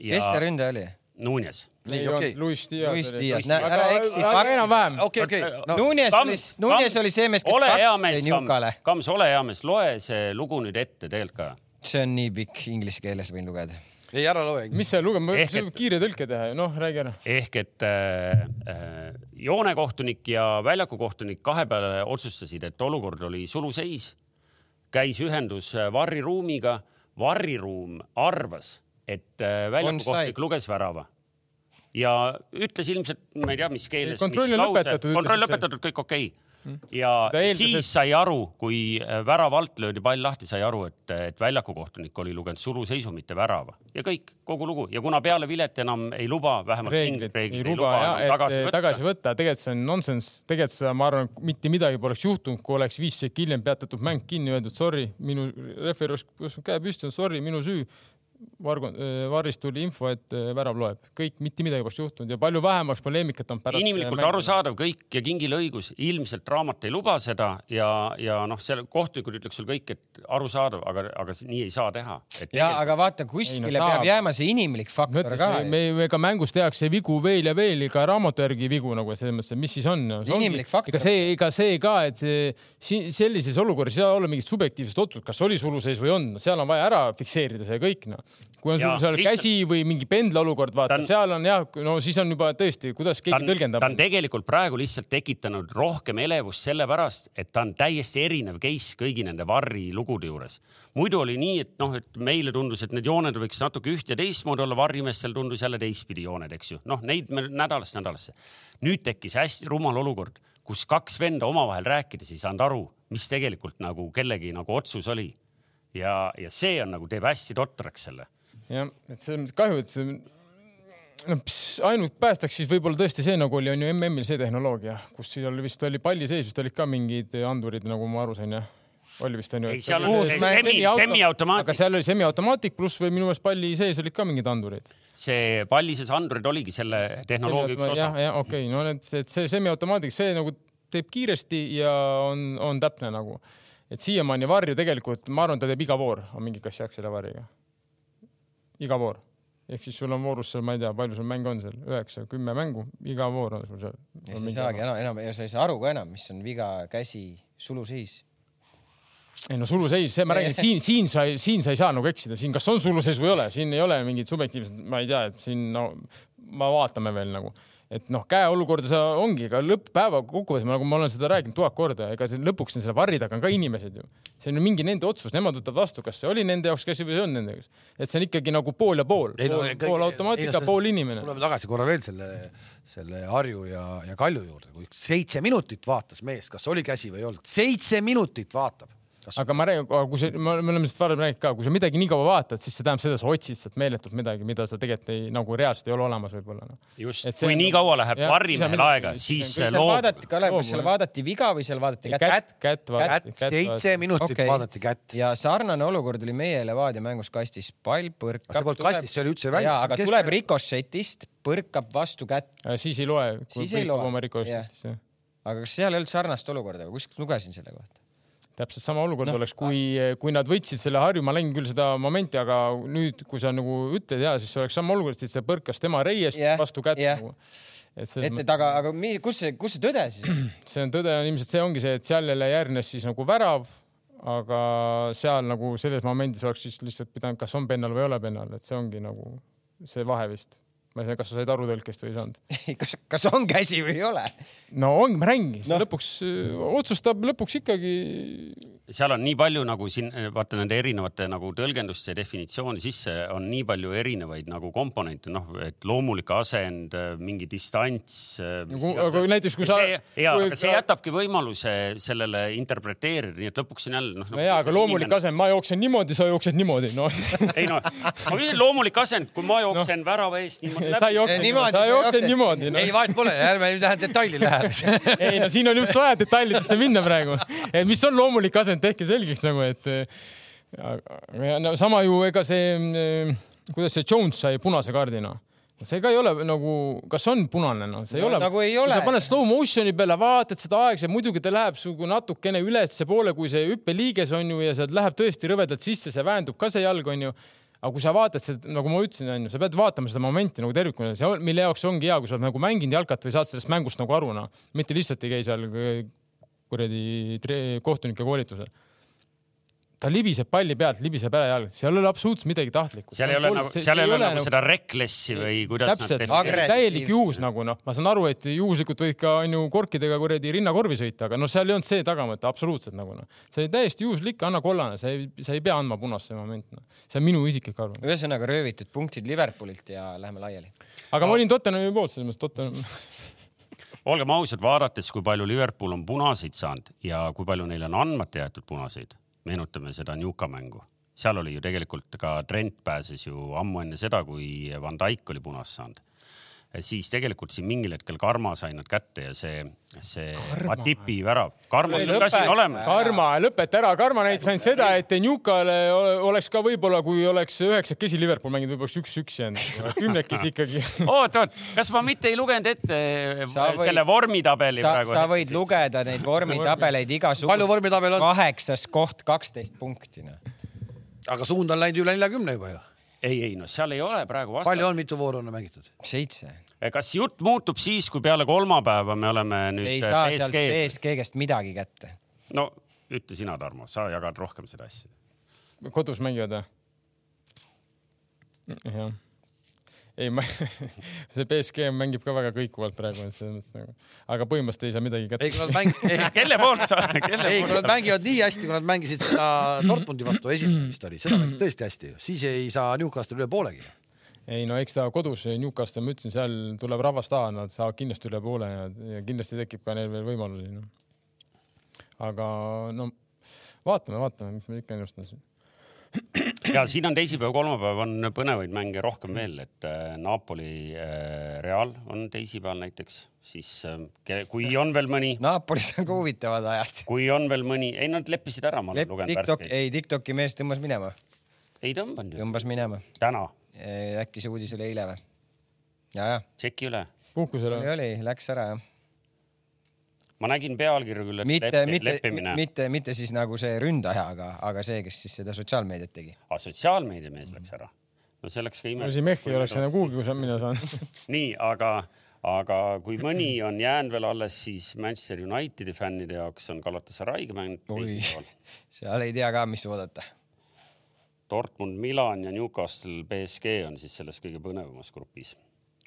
C: kes see
B: ja
C: ründaja oli ?
B: Nunes .
A: nii , okei .
D: Luis Dias .
C: Luis Diaz, näe, ära eksi.
D: aga enam-vähem .
A: okei , okei .
B: Äh,
D: äh,
C: No, Nunes oli- Nunes oli see mees, kes kaks tõi Newcale.
B: Kams , ole hea mees , loe see lugu nüüd ette tegelikult ka .
C: see on nii pikk , inglise keeles võin lugeda .
A: ei , ära loe .
D: mis see lugema ,
B: Ehk
D: see võib kiire tõlke teha ju , noh , räägi ära .
B: ehk et äh, äh, joonekohtunik ja väljakukohtunik kahe peale otsustasid , et olukord oli suluseis , käis ühendus äh, varriruumiga , varriruum arvas , et äh, väljakukohtunik
C: Onside.
B: luges värava ja ütles ilmselt , ma ei tea , mis keeles .
D: Kontroll on lõpetatud,
B: kontroll
D: ütles see.
B: lõpetatud , kõik okei okay. . ja
D: Ta eeldas, et-
B: siis sai aru , kui äh, värava alt löödi pall lahti , sai aru , et , et väljakukohtunik oli lugenud suluseisu , mitte värava ja kõik , kogu lugu ja kuna peale vilet enam ei luba , vähemalt
D: reeglid ei luba ja
B: enam
D: et tagasi võtta, tagasi võtta. , tegelikult see on nonsense , tegelikult seda ma arvan , mitte midagi poleks juhtunud , kui oleks viis sekki hiljem peatatud mäng kinni öeldud , sorry , minu refer oleks tõstnud käe püsti , sorry , minu süü . Vargo , varrist tuli info , et äh, värav loeb , kõik , mitte midagi poleks juhtunud ja palju vähemaks poleemikat on pärast .
B: inimlikult . arusaadav kõik ja kingil õigus , ilmselt raamat ei luba seda ja , ja noh , seal kohtunikud ütleks sul kõik , et arusaadav , aga , aga s- nii ei saa teha .
C: ja aga vaata ,
D: Ei,
C: kuskile
D: no
C: peab
D: saab.
C: jääma see inimlik
D: ma
C: faktor ka
D: ütlesin , me , me ka mängus tehakse vigu veel ja veel , iga raamatu järgi vigu nagu selles mõttes , et mis siis on .
C: Inimlik faktor.
D: ega see , ega see ka , et see si- sellises olukorras ei saa olla mingit subjektiivset otsust , kas oli suluseis või on , seal on vaja ära fikseerida see kõik noh . kui on
B: Jaa,
D: sul seal
B: lihtsalt-
D: käsi või mingi pendlaolukord , vaata
B: Ta on-
D: seal on jah , no siis on juba tõesti , kuidas
B: ta
D: keegi
B: on , ta
D: tõlgendab
B: on . tegelikult praegu lihtsalt tekitanud rohkem elevust sellepärast , et ta on täiesti erinev case kõigi nende Varri lugude juures . muidu oli nii , et noh , et meile tundus , et need jooned võiks natuke üht ja teistmoodi olla , Varrimeestel tundus jälle teistpidi jooned , eks ju . noh , neid me nädalast nädalasse . nüüd tekkis hästi rumal olukord , kus kaks venda omavahel rääkides ei saanud aru , mis tegelikult nagu kellegi nagu otsus oli . ja , ja see on nagu teeb hästi totraks selle .
D: jah , et selles mõttes kahju , et see no pss, ainult päästaks siis võib-olla tõesti see nagu oli , on ju MM-il see tehnoloogia , kus seal vist oli palli sees , vist olid ka mingid andurid , nagu ma aru sain jah . oli vist on ju .
B: Ei, seal oli see semi- semiautomaatik.
D: aga seal oli semiautomaatik pluss või minu meelest palli sees olid ka mingid andurid .
B: see pallises andurid oligi selle tehnoloogia üks osa
D: jah , jah , okei okay. , no need , see, see semiautomaatik , see nagu teeb kiiresti ja on , on täpne nagu . et siiamaani varju tegelikult , ma arvan , ta teeb iga voor , on mingi kassiak selle varjuga . iga voor . ehk siis sul on voorus seal , ma ei tea , palju sul mänge on seal , üheksa , kümme mängu , iga voor on sul seal .
C: ja sa ei saagi enam , enam ja sa ei saa aru ka enam , mis on viga , käsi , suluseis .
D: ei no suluseis , see ma räägin , siin , siin sa , siin sa ei saa nagu eksida , siin kas on suluseis või ei ole , siin ei ole mingit subjektiivset , ma ei tea , et siin no ma vaatame veel nagu et noh, käeolukorda sa ongi, aga lõpppäeva kokkuvõttes ma nagu ma olen seda rääkinud tuhat korda, ega see lõpuks on selle varri taga on ka inimesed ju. see on ju mingi nende otsus, nemad võtavad vastu, kas see oli nende jaoks käsi või see on nende jaoks. et see on ikkagi nagu pool ja pool, pool, pool automaatika, pool inimene.
A: tuleme tagasi korra veel selle, selle Harju ja, ja Kalju juurde, kui seitse minutit vaatas mees, kas oli käsi või ei olnud, seitse minutit vaatab
D: kas... aga ma räägin, kui sa, me oleme sellest varem rääkinud ka, kui sa midagi nii kaua vaatad, siis see tähendab seda, sa otsid sealt meeletult midagi, mida sa tegelikult ei nagu reaalselt ei ole olemas võib-olla noh. no..
B: just, kui
D: nagu-
B: on... nii kaua läheb parimehel aega, siis
C: kas seal vaadati, Kalev, kas seal vaadati viga või seal vaadati kätt?
D: kätt, kätt
A: vaadati. seitse minutit okay. vaadati kätt.
C: ja sarnane olukord oli meie Levadia mängus kastis, pall põrkab.
A: see polnud kastis, see oli üldse
C: välja. aga Kes... tuleb rikošetist, põrkab vastu kätt.
D: Äh, siis ei loe.
C: siis ei loe. aga kas seal ei olnud sarnast olukorda, kuskilt lugesin selle kohta
D: täpselt sama
C: Noh,
D: olukord no,
C: ah.
D: oleks, kui, kui nad võtsid selle Harju, ma nägin küll seda momenti, aga nüüd, kui sa nagu ütled ja siis oleks sama olukord, siis see põrkas tema reiest yeah, vastu kätt yeah. nagu.
C: et ette taga, aga mi, kus see, kus see tõde siis?
A: [clears throat]
D: see on tõde on ilmselt see ongi see, et seal jälle järgnes siis nagu värav, aga seal nagu selles momendis oleks siis lihtsalt pidanud, kas on pennal või ei ole pennal, et see ongi nagu see vahe vist ma ei tea, kas sa said aru tõlkest või ei saanud
C: kas, kas on käsi või ei ole?
D: no on, ma räägin no., lõpuks öö, otsustab lõpuks ikkagi.
B: seal on nii palju nagu siin vaata nende erinevate nagu tõlgenduste definitsiooni sisse on nii palju erinevaid nagu komponente, noh, et loomulik asend, mingi distants. äh,
D: Nagu- aga näiteks kui sa.
B: ja, aga see jätabki võimaluse sellele interpreteerida, nii et lõpuks on jälle noh.
D: no ja, aga loomulik inimene... asend, ma jooksen niimoodi, sa jooksed niimoodi, noh
B: ei no, ma küsin loomulik asend, kui ma jooksen no. värava eest niimoodi
D: sa ei jookse niimoodi, sa jooksed niimoodi
A: no.. ei, vahet pole, ärme nüüd lähe detaili lähe
D: [laughs] ei no siin on just vaja detailidesse minna praegu, et mis on loomulik asend, tehke selgeks nagu, et no, sama ju ega see, mm, kuidas see Jones sai punase kaardi noh see ka ei ole nagu, kas on punane noh, see ei no, ole
C: nagu. ei ole.
D: sa paned slow motion'i peale, vaatad seda aega, muidugi ta läheb sul natukene ülespoole, kui see hüppeliiges on ju ja sealt läheb tõesti rõvedalt sisse, see väändub ka see jalg on ju aga kui sa vaatad seda, nagu ma ütlesin, onju, sa pead vaatama seda momenti nagu tervikuna, see on, mille jaoks ongi hea, kui sa oled nagu mänginud jalkat või saad sellest mängust nagu aru, noh. mitte lihtsalt ei käi seal kuradi kohtunike koolitusel ta libiseb palli pealt, libiseb ära jalg, seal ei ole absoluutselt midagi tahtlikku.
B: seal ei ole nagu, seal ei ole nagu seda reckless'i või kuidas
D: täpselt, nagu täielik juhus nagu noh, ma saan aru, et juhuslikult võid ka onju korkidega kuradi rinnakorvi sõita, aga noh, seal ei olnud see tagamõte absoluutselt nagu noh, see oli täiesti juhuslik, anna kollane, sa ei, sa ei pea andma punast see moment noh, see on minu isiklik arvamus.
C: [laughs] ühesõnaga röövitud punktid Liverpoolilt ja läheme laiali.
D: aga ma olin Tottenhami poolt selles mõttes, Tottenham
B: olgem ausad, vaadates, kui palju Liverpool on punaseid saanud ja kui palju neil on andmata jäetud punaseid, meenutame seda Newca mängu, seal oli ju tegelikult ka Trent pääses ju ammu enne seda, kui Van Dijk oli punast saanud. siis tegelikult siin mingil hetkel Karma sai nad kätte ja see, see Atipi värav. Karma oli ka siin olemas.
D: Karma, lõpeta ära, Karma näitas ainult seda, et Newcale oleks ka võib-olla, kui oleks üheksakesi Liverpool mänginud, võib-olla oleks üks-üks jäänud, kümnekesi ikkagi
B: oot, oot, kas ma mitte ei lugenud ette sa võid, selle vormitabeli
C: sa,
B: praegu?
C: sa võid lugeda neid vormitabeleid igasuguseid.
A: palju vormitabel on?
C: kaheksas koht, kaksteist punkti, noh.
A: aga suund on läinud üle neljakümne juba ju
B: ei, ei noh, seal ei ole praegu Eh,
A: vasta-. palju on, mitu vooru on mängitud?
C: seitse.
B: kas jutt muutub siis, kui peale kolmapäeva me oleme nüüd eh,
C: ei saa ESG... sealt ESG käest midagi kätte.
B: no ütle sina, Tarmo, sa jagad rohkem seda asja.
D: kodus mängivad või? jah. ei, ma [laughs] see BSG mängib ka väga kõikuvalt praegu, et selles mõttes nagu, aga põhimõtteliselt ei saa midagi kätte.
A: ei, kui nad [laughs] mängivad
B: kelle poolt
C: [laughs]
B: sa,
A: kelle ei, kui [laughs] nad mängivad nii hästi, kui nad mängisid seda Dortmundi vastu esimene vist oli, seda mängis tõesti hästi ju, siis ei saa Newcastle üle poolegi.
D: ei no eks ta kodus Newcastle, ma ütlesin, seal tuleb rahvas taha, nad saavad kindlasti üle poole ja, ja kindlasti tekib ka neil veel võimalusi no.. aga no vaatame, vaatame, mis me ikka ennustame siin
B: ja siin on teisipäev, kolmapäev on põnevaid mänge rohkem veel, et äh, Napoli äh, Real on teisipäeval näiteks, siis ähm, kui on veel mõni.
C: Napolis on ka huvitavad ajad.
B: kui on veel mõni, ei nad leppisid ära, ma olen lugenud
C: TikTok, värskeid. ei, Tiktoki mees tõmbas minema.
B: ei tõmbanud
C: ju. tõmbas minema.
B: täna.
C: äkki see uudis oli eile või? ja, ja.
B: tšeki üle.
D: puhkusele.
C: oli, oli, läks ära jah
B: ma nägin pealkirju küll, et
C: mitte,
B: lepi,
C: mitte,
B: leppimine.
C: mitte, mitte siis nagu see ründaja, aga, aga see, kes siis seda sotsiaalmeediat tegi.
B: aa, Ah, sotsiaalmeediamees läks ära. no see läks ka
D: imelik. no siin Mehhi oleks enam kuhugi, kus on minna [laughs] saanud
B: nii, aga, aga kui mõni on jäänud veel alles, siis Manchester Unitedi fännide jaoks on Galatasaray'ga mäng teisipäeval.
C: seal ei tea ka, mis oodata.
B: Dortmund, Milan ja Newcastle BSG on siis selles kõige põnevamas grupis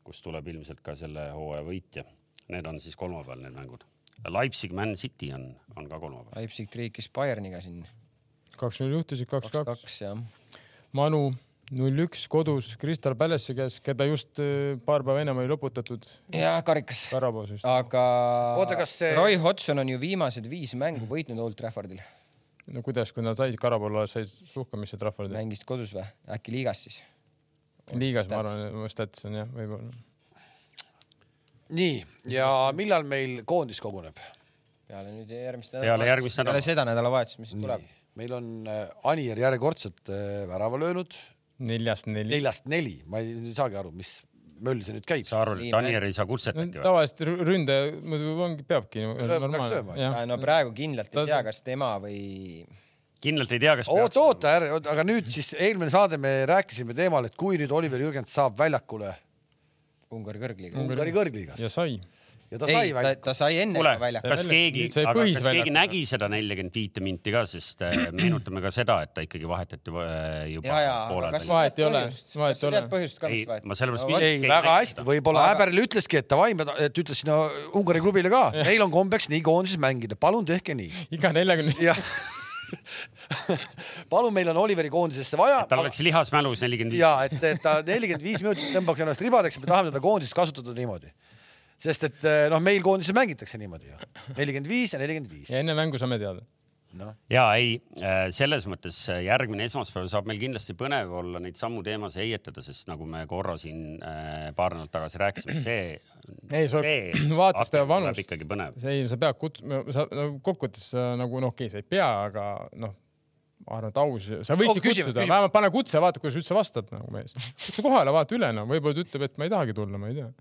B: kus tuleb ilmselt ka selle hooaja võitja . Need on siis kolmapäeval need mängud . Leipzig Man City on , on ka kolmapäeval .
C: Leipzig triikis Bayerniga siin
D: kaks-null juhtusid , kaks-kaks .
C: kaks-kaks jah .
D: Manu null-üks kodus Crystal Palace'i käes , keda just äh, paar päeva ennem oli loputatud
C: ja karikas ,
D: Karabaasist .
C: aga
A: Oota, kas see-
C: Roy Hodgson on ju viimased viis mängu võitnud Old Traffordil ,
D: no kuidas , kui nad said Karabaala , said suhkamisse trahvida .
C: mängis kodus või , äkki liigas siis ?
D: liigas ma arvan , stats on jah , võib-olla .
A: nii , ja millal meil koondis koguneb ?
C: peale nüüd järgmist
B: Peale järgmist nädalat.
C: peale seda nädalavahetust , mis tuleb .
A: meil on äh, Anier järjekordselt äh, värava löönud ,
D: neljast neli .
A: neljast neli , ma ei ei saagi aru , mis möll see nüüd käib .
B: sa arvad ,
C: Nii,
B: et Daniel ei saa kutset
D: no
B: äkki või ?
D: tavaliselt rü- ründaja muidu ongi , peabki .
A: lööma.
C: Äh, no praegu kindlalt
D: Ta-
C: ei tea , kas tema või
B: kindlalt ei tea , kas
A: oot ,
B: peaks .
A: oota , aga nüüd siis eelmine saade me rääkisime teemal , et kui nüüd Oliver Jürgens saab väljakule
C: Ungari kõrgliiga .
A: Ungari kõrgliigas
D: ja sai .
A: ja ta
C: ei
A: sai ,
C: ta,
A: välja .
C: ta sai enne
B: kuule
C: ka , välja .
B: kas
D: Välja-
B: keegi ,
D: sai
B: aga kas
D: põhisväljakule.
B: keegi nägi seda neljakümmet viite minti ka , sest
D: [clears throat]
B: äh, meenutame ka seda , et ta ikkagi vahetati äh,
C: ja ,
B: juba
C: ja , aga
B: poolel
C: kas
B: mängul .
C: sa
D: Vahet
C: tead
D: ei
C: põhjust , kas sa
D: ole, vahet ei
C: tead
D: ole.
C: põhjust ka ,
B: Ei,
C: miks vaeti
B: ma sellepärast
C: No vot,
A: ei
B: Keegi ,
A: väga
B: nägi
A: hästi ,
B: seda.
A: võib-olla
C: Aga-
A: Hääberil ütleski , et davai , et ütles sinna Ungari klubile ka , teil on kombeks nii koondises mängida , palun tehke [laughs] nii .
D: iga neljakümne ,
A: jah . [laughs] palun , meil on Oliveri koondisesse vaja .
B: tal oleks lihas mälus nelikümmend viis .
A: ja et , et ta nelikümmend viis minutit tõmbaks ennast ribadeks , me tahame teda koondises kasutada niimoodi . sest et eh, noh , meil koondises mängitakse niimoodi ju , nelikümmend viis ja nelikümmend viis .
D: ja enne mängu saame teada .
A: noh ,
B: ja ei , selles mõttes äh, järgmine esmaspäev saab meil kindlasti põnev olla neid samu teemasid heietada , sest nagu me korra siin äh, paar nädalat tagasi rääkisime , see .
D: Ei, sa vaatasid tema vanust.
B: ikkagi põnev .
D: ei , sa pead kutsuma , sa no, kokkuvõttes sa nagu noh , okei okay, , sa ei pea , aga noh , ma arvan , et aus , sa võiksid
A: Oh, küsime,
D: oh, küsime, kutsuda ,
A: küsime.
D: vähemalt pane kutse , vaata , kuidas üldse vastab nagu mees . kutsu kohale , vaata üle , no võib-olla ta ütleb , et ma ei tahagi tulla , ma ei tea .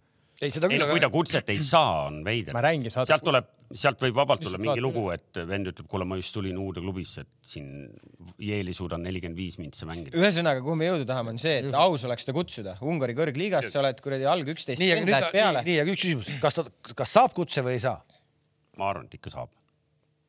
A: ei seda
B: ei
A: küll ,
B: no kui ta
A: aga
B: kutset
D: [clears throat]
B: ei saa , on veider
D: Ma räägin, . saad-
B: sealt tuleb , sealt võib vabalt tulla
D: Lihtsalt
B: mingi
D: vaata
B: lugu , et vend ütleb , kuule , ma just tulin uude klubisse , et siin Jeeli suudan nelikümmend viis mintse mängida .
C: ühesõnaga , kuhu me jõuda tahame , on see , et aus oleks ta kutsuda . Ungari kõrgliigas sa oled kuradi alg üksteist ,
A: nii , aga
C: vend läheb
A: nüüd ,
C: peale
A: nii ,. nii , aga üks küsimus , kas ta , kas saab kutse või ei saa ?
B: ma arvan , et ikka saab .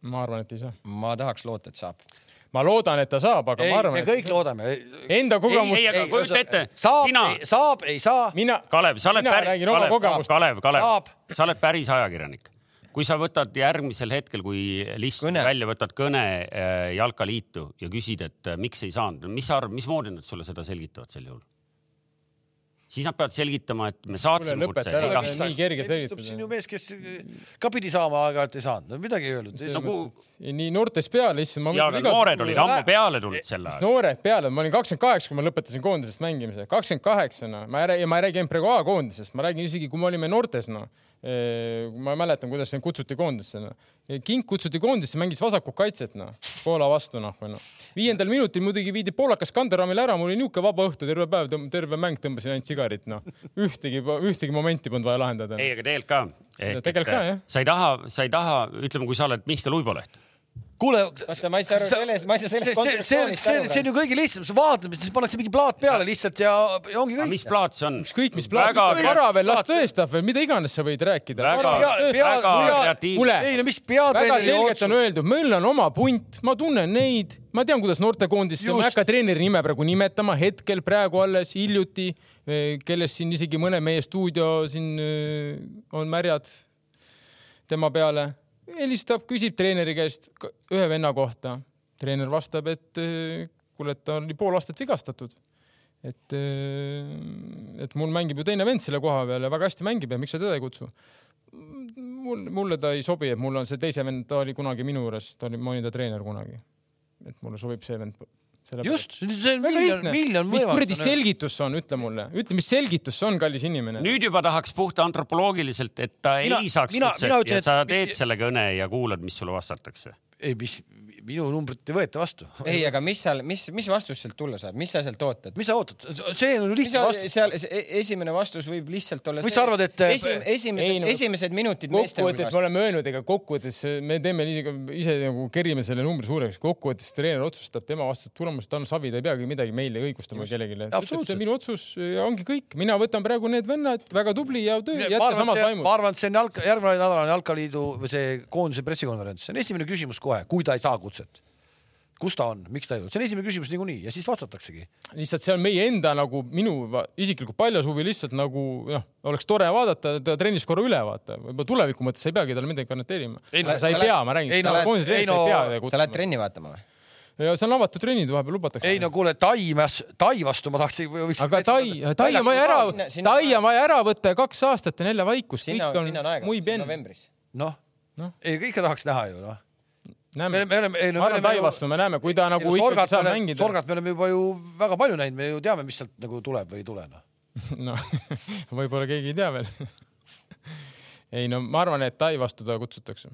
D: ma arvan , et ei saa .
C: ma tahaks loota , et saab .
D: ma loodan , et ta saab , aga
A: ei
D: ma ,
A: me
D: arvan ,
A: kõik loodame .
D: et enda kogemus
B: ei, , aga kujuta ette,
A: saab
B: sina- ,
A: saab , ei saa ,
D: mina ,
B: Kalev , sa oled
D: mina
B: päris ,
D: räägin oma
B: Kalev , Kalev ,
D: kogemust .
B: Kalev, Kalev
A: Saab. ,
B: sa oled päris ajakirjanik . kui sa võtad järgmisel hetkel , kui list
C: Kõne.
B: välja võtad kõne äh, Jalkaliitu ja küsid , et äh, miks ei saanud , mis sa arvad , mismoodi nad sulle seda selgitavad sel juhul ? siis nad peavad selgitama , et me
D: kuule ,
B: saatsime
D: lõpeta
B: kutse .
D: ära ,
B: igaks
D: nii
B: asjaks .
D: kerge
A: istub siin ju
D: selgitus .
A: mees , kes eh, ka pidi saama , aeg-ajalt ei saanud , no midagi ei öelnud .
B: no kuhu ,
D: nii noortest peale , issand , ma
B: ja aga noored olid ammu peale tulnud selle
D: Mis
B: ajal .
D: noored peale , ma olin kakskümmend kaheksa , kui ma lõpetasin koondisest mängimise , kakskümmend kaheksa , noh , ma ei räägi , ma ei räägi praegu A-koondisest , ma räägin isegi , kui me olime noortes , noh . ma mäletan , kuidas sind kutsuti koondisse , noh . king kutsuti koondisse , mängis vasakut kaitset , noh , Poola vastu , noh , või noh . viiendal minutil muidugi viidi poolakas kanderaamil ära , mul oli niisugune vaba õhtu terve päev , terve mäng tõmbasin ainult sigarit , noh . ühtegi , ühtegi momenti polnud vaja lahendada . noh.
B: ei , aga tegelikult ka .
D: tegelikult ka, jah.
B: sa ei taha , sa ei taha , ütleme , kui sa oled Mihkel Uiboleht .
A: kuule .
C: Oota, ma ei saa aru sellest- ma ei saa sellest kontseptsioonist
A: aru
C: aru .
A: see on ju kõige lihtsam , sa vaatad , siis pannakse mingi plaat peale lihtsalt ja ja ongi
B: aga mis
A: kõik .
B: plaat see on ?
D: ükskõik mis plaat , ära veel , las tõestab või mida iganes sa võid rääkida .
B: Väga- väga kreatiivne.
D: kuule ,
A: ei no mis
D: väga
A: peatreeneri
D: selgelt on
A: otsus ,
D: öeldud , meil on oma punt , ma tunnen neid , ma tean , kuidas noortekoondis , ma ei
A: Just.
D: hakka treeneri nime praegu nimetama , hetkel praegu alles hiljuti , kellest siin isegi mõne meie stuudio siin eh, on märjad tema peale , helistab , küsib treeneri käest k- ühe venna kohta . treener vastab , et eh, kuule , et ta oli pool aastat vigastatud et , et mul mängib ju teine vend selle koha peal ja väga hästi mängib ja miks sa teda ei kutsu ? mul , mulle ta ei sobi , et mul on see teise vend , ta oli kunagi minu juures , ta oli , ma olin ta treener kunagi . et mulle sobib see vend .
A: just , see on
D: väga
A: miljon ,
D: lihtne .
A: miljon
D: mis kuradi
A: võimalust .
D: selgitus see on , ütle mulle , ütle , mis selgitus see on , kallis inimene .
B: nüüd juba tahaks puhta antropoloogiliselt , et ta mina,
A: Mina-
B: ei saaks
A: mina-
B: kutset
A: mina
B: ja
A: ütlen,
B: sa
A: et-
B: teed selle kõne ja kuulad , mis sulle vastatakse .
A: ei , mis , minu numbrit ei võeta vastu . [laughs]
C: ei , aga mis seal , mis , mis vastus sealt tulla saab , mis sa sealt ootad ?
A: mis sa ootad , see on ju
C: mis
A: lihtne
C: sa
A: vastus .
C: seal , esimene vastus võib lihtsalt olla .
A: Mis sa arvad, et-
C: esimesed ,
D: Ei,
C: esimesed,
D: no-
C: esimesed minutid meeste
D: kokkuvõttes
C: hulgas
D: me . oleme öelnud , ega kokkuvõttes me teeme ise, ise nagu kerime selle numbri suureks , kokkuvõttes treener otsustab , tema vastutab tulemust , ta on savi , ta ei peagi midagi meile õigustama kellelegi .
A: absoluutselt.
D: see on minu otsus ja ongi kõik , mina võtan praegu need vennad , väga tubli ja töö ,
A: ma
D: jätka
A: arvan ,
D: samas
A: et
D: vaimus
A: ma . arvan , et see on jalg , järgmine nädal on Jalkaliidu või see koondise pressikonverents , see on esimene küsimus kohe , kui ta ei saa kutset . kus ta on , miks ta ei tulnud , see on esimene küsimus niikuinii ja siis vastataksegi .
D: lihtsalt see on meie enda nagu minu va- isiklikult paljas huvi lihtsalt nagu noh , oleks tore vaadata ta trennis korra üle vaata , võib-olla tuleviku mõttes sa ei peagi talle midagi garanteerima .
C: no
D: sa ei
C: sa
D: pea
C: lähed- ,
D: ma räägin ,
A: ei no lähed-
D: koondise
A: ei
D: trennis sa
A: no-
D: ei pea
C: sa lähed
D: midagi
C: trenni vaatama või ?
D: kutuma . ja seal on avatud trennid , vahepeal lubatakse .
A: ei no kuule , Tai , Tai vastu ma tahtsin .
D: aga Tai , Tai on vaja ära
C: Sinna- , sinna-
D: Tai on vaja ära võtta ja kaks aastat on jälle vaikus ,
C: sinna ,
D: kõik on
C: sinna on aega ,
D: muib enne .
C: novembris .
A: noh
D: Noh. ,
A: ei kõike tahaks näha ju noh .
D: näeme
A: me , me oleme , ei no
D: ma arvan , Tai vastu me näeme , kui ta
A: ei, no
D: nagu ikkagi
A: sorgat me
D: saab
A: oleme-
D: mängida . [laughs]
A: sorgat me oleme juba ju väga palju näinud , me ju teame , mis sealt nagu tuleb või ei tule noh .
D: noh , võib-olla keegi ei tea veel . [laughs] ei no ma arvan , et Tai vastu ta kutsutakse .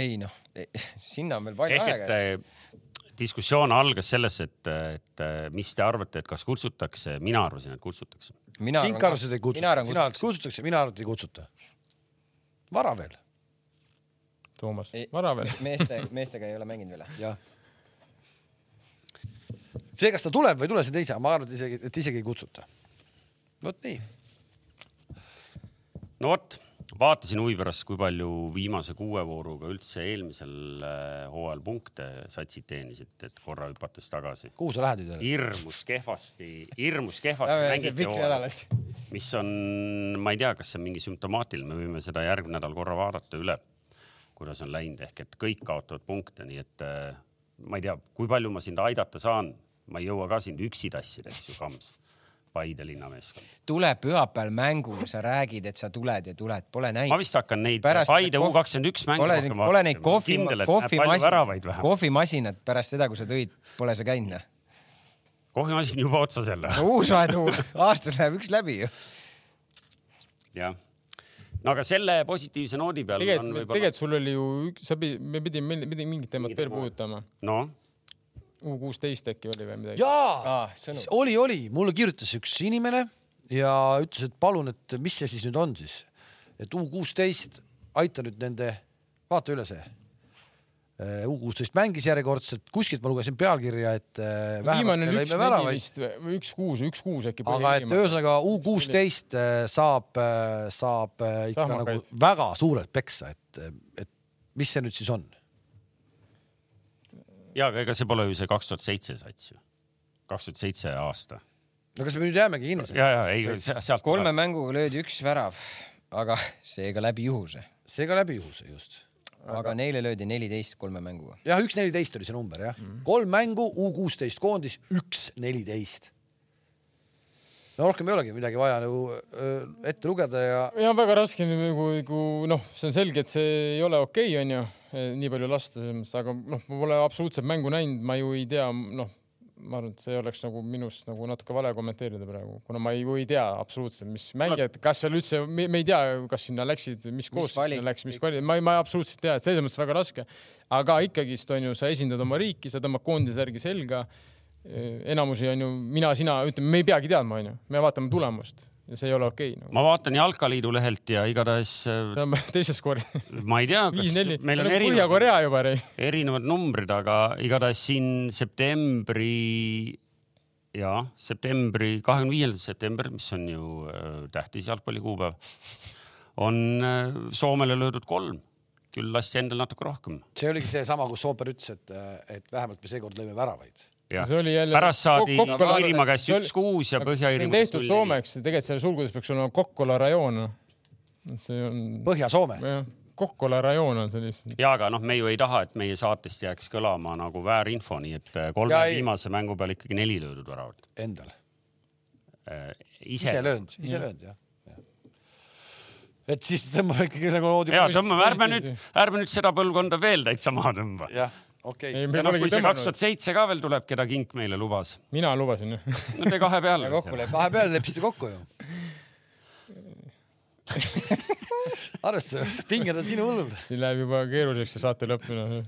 C: ei noh , [laughs] sinna on veel palju
B: ehk et
C: aega .
B: eh, diskussioon algas sellest , et , et eh, mis te arvate , et kas kutsutakse , mina arvasin , et kutsutakse .
C: mina
A: King Karlsson ei
C: mina
A: kutsuta ,
C: arvan ,
A: sina arvad ,
C: kutsutakse .
A: kutsutakse , mina arvan , et ei kutsuta . vara veel ,
D: Toomas , vara veel .
C: [laughs] meeste , meestega ei ole mänginud veel .
A: jah . see , kas ta tuleb või ei tule , see teise , ma arvan , et isegi , et isegi ei kutsuta . vot nii .
B: no vot , vaatasin huvi pärast , kui palju viimase kuue vooruga üldse eelmisel eh, hooajal punkte satsid teenisid , et korra hüpates tagasi .
A: kuhu sa lähed nüüd jälle ?
B: hirmus kehvasti , hirmus
C: Lähme
B: kehvasti
C: siit
B: mängiti
C: pikki
B: hooajal
C: nädalaid. ,
B: mis on , ma ei tea , kas see on mingi sümptomaatiline , me võime seda järgmine nädal korra vaadata üle , kuidas on läinud , ehk et kõik kaotavad punkte , nii et eh, ma ei tea , kui palju ma sind aidata saan , ma ei jõua ka sind üksi tassida , eks ju , Kams , Paide linnameeskond .
C: tule pühapäeval mängu , sa räägid , et sa tuled ja tuled , pole näinud .
B: ma vist hakkan neid
C: Pärast
B: Paide
C: neid kohv-
B: U21 mänge
C: pole,
B: rohkem
C: pole neid
B: vaatama.
C: kohvi
B: Kindel, , et näeb palju väravaid
C: kohvimasinad ,
B: vähem.
C: kohvimasinad pärast seda , kui sa tõid , pole sa käinud noh .
B: kohvimasin juba otsas jälle .
C: uus vahetu , aastas läheb üks läbi ju .
B: jah . no aga selle positiivse noodi peal on
D: tegelikult ,
B: võib-olla .
D: tegelikult sul oli ju üks , sa pidid , me pidime mil- midi- mingit teemat veel puudutama .
B: noh ,
D: U kuusteist äkki oli või midagi .
A: jaa
D: Ah,
C: Aa, sõnum. ,
A: oli , oli , mulle kirjutas üks inimene ja ütles , et palun , et mis see siis nüüd on siis , et U kuusteist , aita nüüd nende , vaata üle see . U kuusteist mängis järjekordselt , kuskilt ma lugesin pealkirja , et äh, vähemalt
D: viimane
A: me
D: oli üks
A: lõime
D: neli
A: väravaid ,
D: vist või- või üks kuus , üks kuus äkki .
A: aga et ühesõnaga U kuusteist eh, saab , saab äh, ikka
D: Sahmakaid.
A: nagu väga suurelt peksa , et , et mis see nüüd siis on ?
B: ja aga ega see pole ju see kaks tuhat seitse sats ju . kaks tuhat seitse aasta .
A: no kas me nüüd jäämegi kinni selle ,
B: ja , ja ei se- sealt .
C: kolme mänguga löödi üks värav , aga seega läbi juhuse .
A: seega läbi juhuse just
C: aga neile löödi neliteist kolme mänguga .
A: jah , üks neliteist oli see number jah mm. , kolm mängu U kuusteist koondis , üks neliteist . no rohkem ei olegi midagi vaja nagu öö, ette lugeda ja
D: ja väga raske nagu , kui noh , see on selge , et see ei ole okei okay, , onju , nii palju lasta , selles mõttes , aga noh , ma pole absoluutselt mängu näinud , ma ju ei tea , noh , ma arvan , et see oleks nagu minust nagu natuke vale kommenteerida praegu , kuna ma ju ei tea absoluutselt , mis mängijad , kas seal üldse , me me ei tea , kas sinna läksid , mis koosseis
C: valik-
D: sinna läks , mis kvaliteet , ma ei , ma ei absoluutselt tea , et selles mõttes väga raske , aga ikkagist on ju , sa esindad oma riiki , sa tõmbad koondise järgi selga e, enamusi on ju mina , sina , ütleme , me ei peagi teadma , onju , me vaatame tulemust ja see ei ole okei nagu. okay, .
B: ma vaatan Jalkaliidu lehelt ja igatahes äh,
D: see on [laughs] teises skoori .
B: ma ei tea , kas
D: viis-neli ,
B: meil on erinevad ,
D: nagu Põhja-Korea juba oli .
B: erinevad numbrid , aga igatahes siin septembri ja septembri , kahekümne viiendal septembril , mis on ju äh, tähtis jalgpallikuupäev , on äh, Soomele löödud kolm , küll lasti endal natuke rohkem .
A: see oligi seesama , kus Sooper ütles , et , et vähemalt me seekord lõime väravaid .
D: See oli jälle-
B: pärast saadi
D: Kok- Kokkola-
B: Põhja-Iirimaa käest
D: see oli-
B: üks kuus ja
D: see on
B: Põhja-Iirimaa
D: tehtud . Soomeks , tegelikult seal sulgudes peaks olema Kokkola rajoon . see on ,
A: Põhja-Soome ,
D: jah , Kokkola rajoon on see lihtsalt .
B: ja aga noh , me ju ei taha , et meie saatest jääks kõlama nagu väärinfo , nii et äh, kolme
A: Ja ei-
B: viimase mängu peal ikkagi neli löödud väravat .
A: endal ,
B: ise
A: ise . löönud , ise löönud jah jah. et siis tõmbame ikkagi nagu moodi .
B: ja tõmbame , ärme nüüd , ärme nüüd seda põlvkonda veel täitsa maha tõmba .
A: jah , okei
D: ei ,
A: okay. ,
D: me
B: ja noh ,
D: polegi
B: kui see kaks
D: tõmmanud .
B: tuhat seitse ka veel tuleb , keda Kink meile lubas ,
D: mina lubasin ju . [laughs]
B: no tee kahe peale .
A: vahepeal leppisite kokku ju . [laughs] arvestada , pinged on sinu õlul
D: siin läheb juba keeruliseks see saate lõpp noh, minu .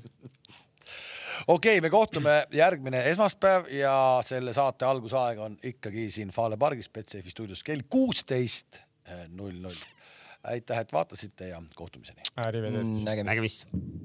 A: okei okay, , me kohtume järgmine esmaspäev ja selle saate algusaeg on ikkagi siin Fale pargis Betsafe stuudios kell kuusteist null null . aitäh , et vaatasite ja kohtumiseni .
D: ääri veel .
B: Mm.
C: nägemist .
B: nägemist .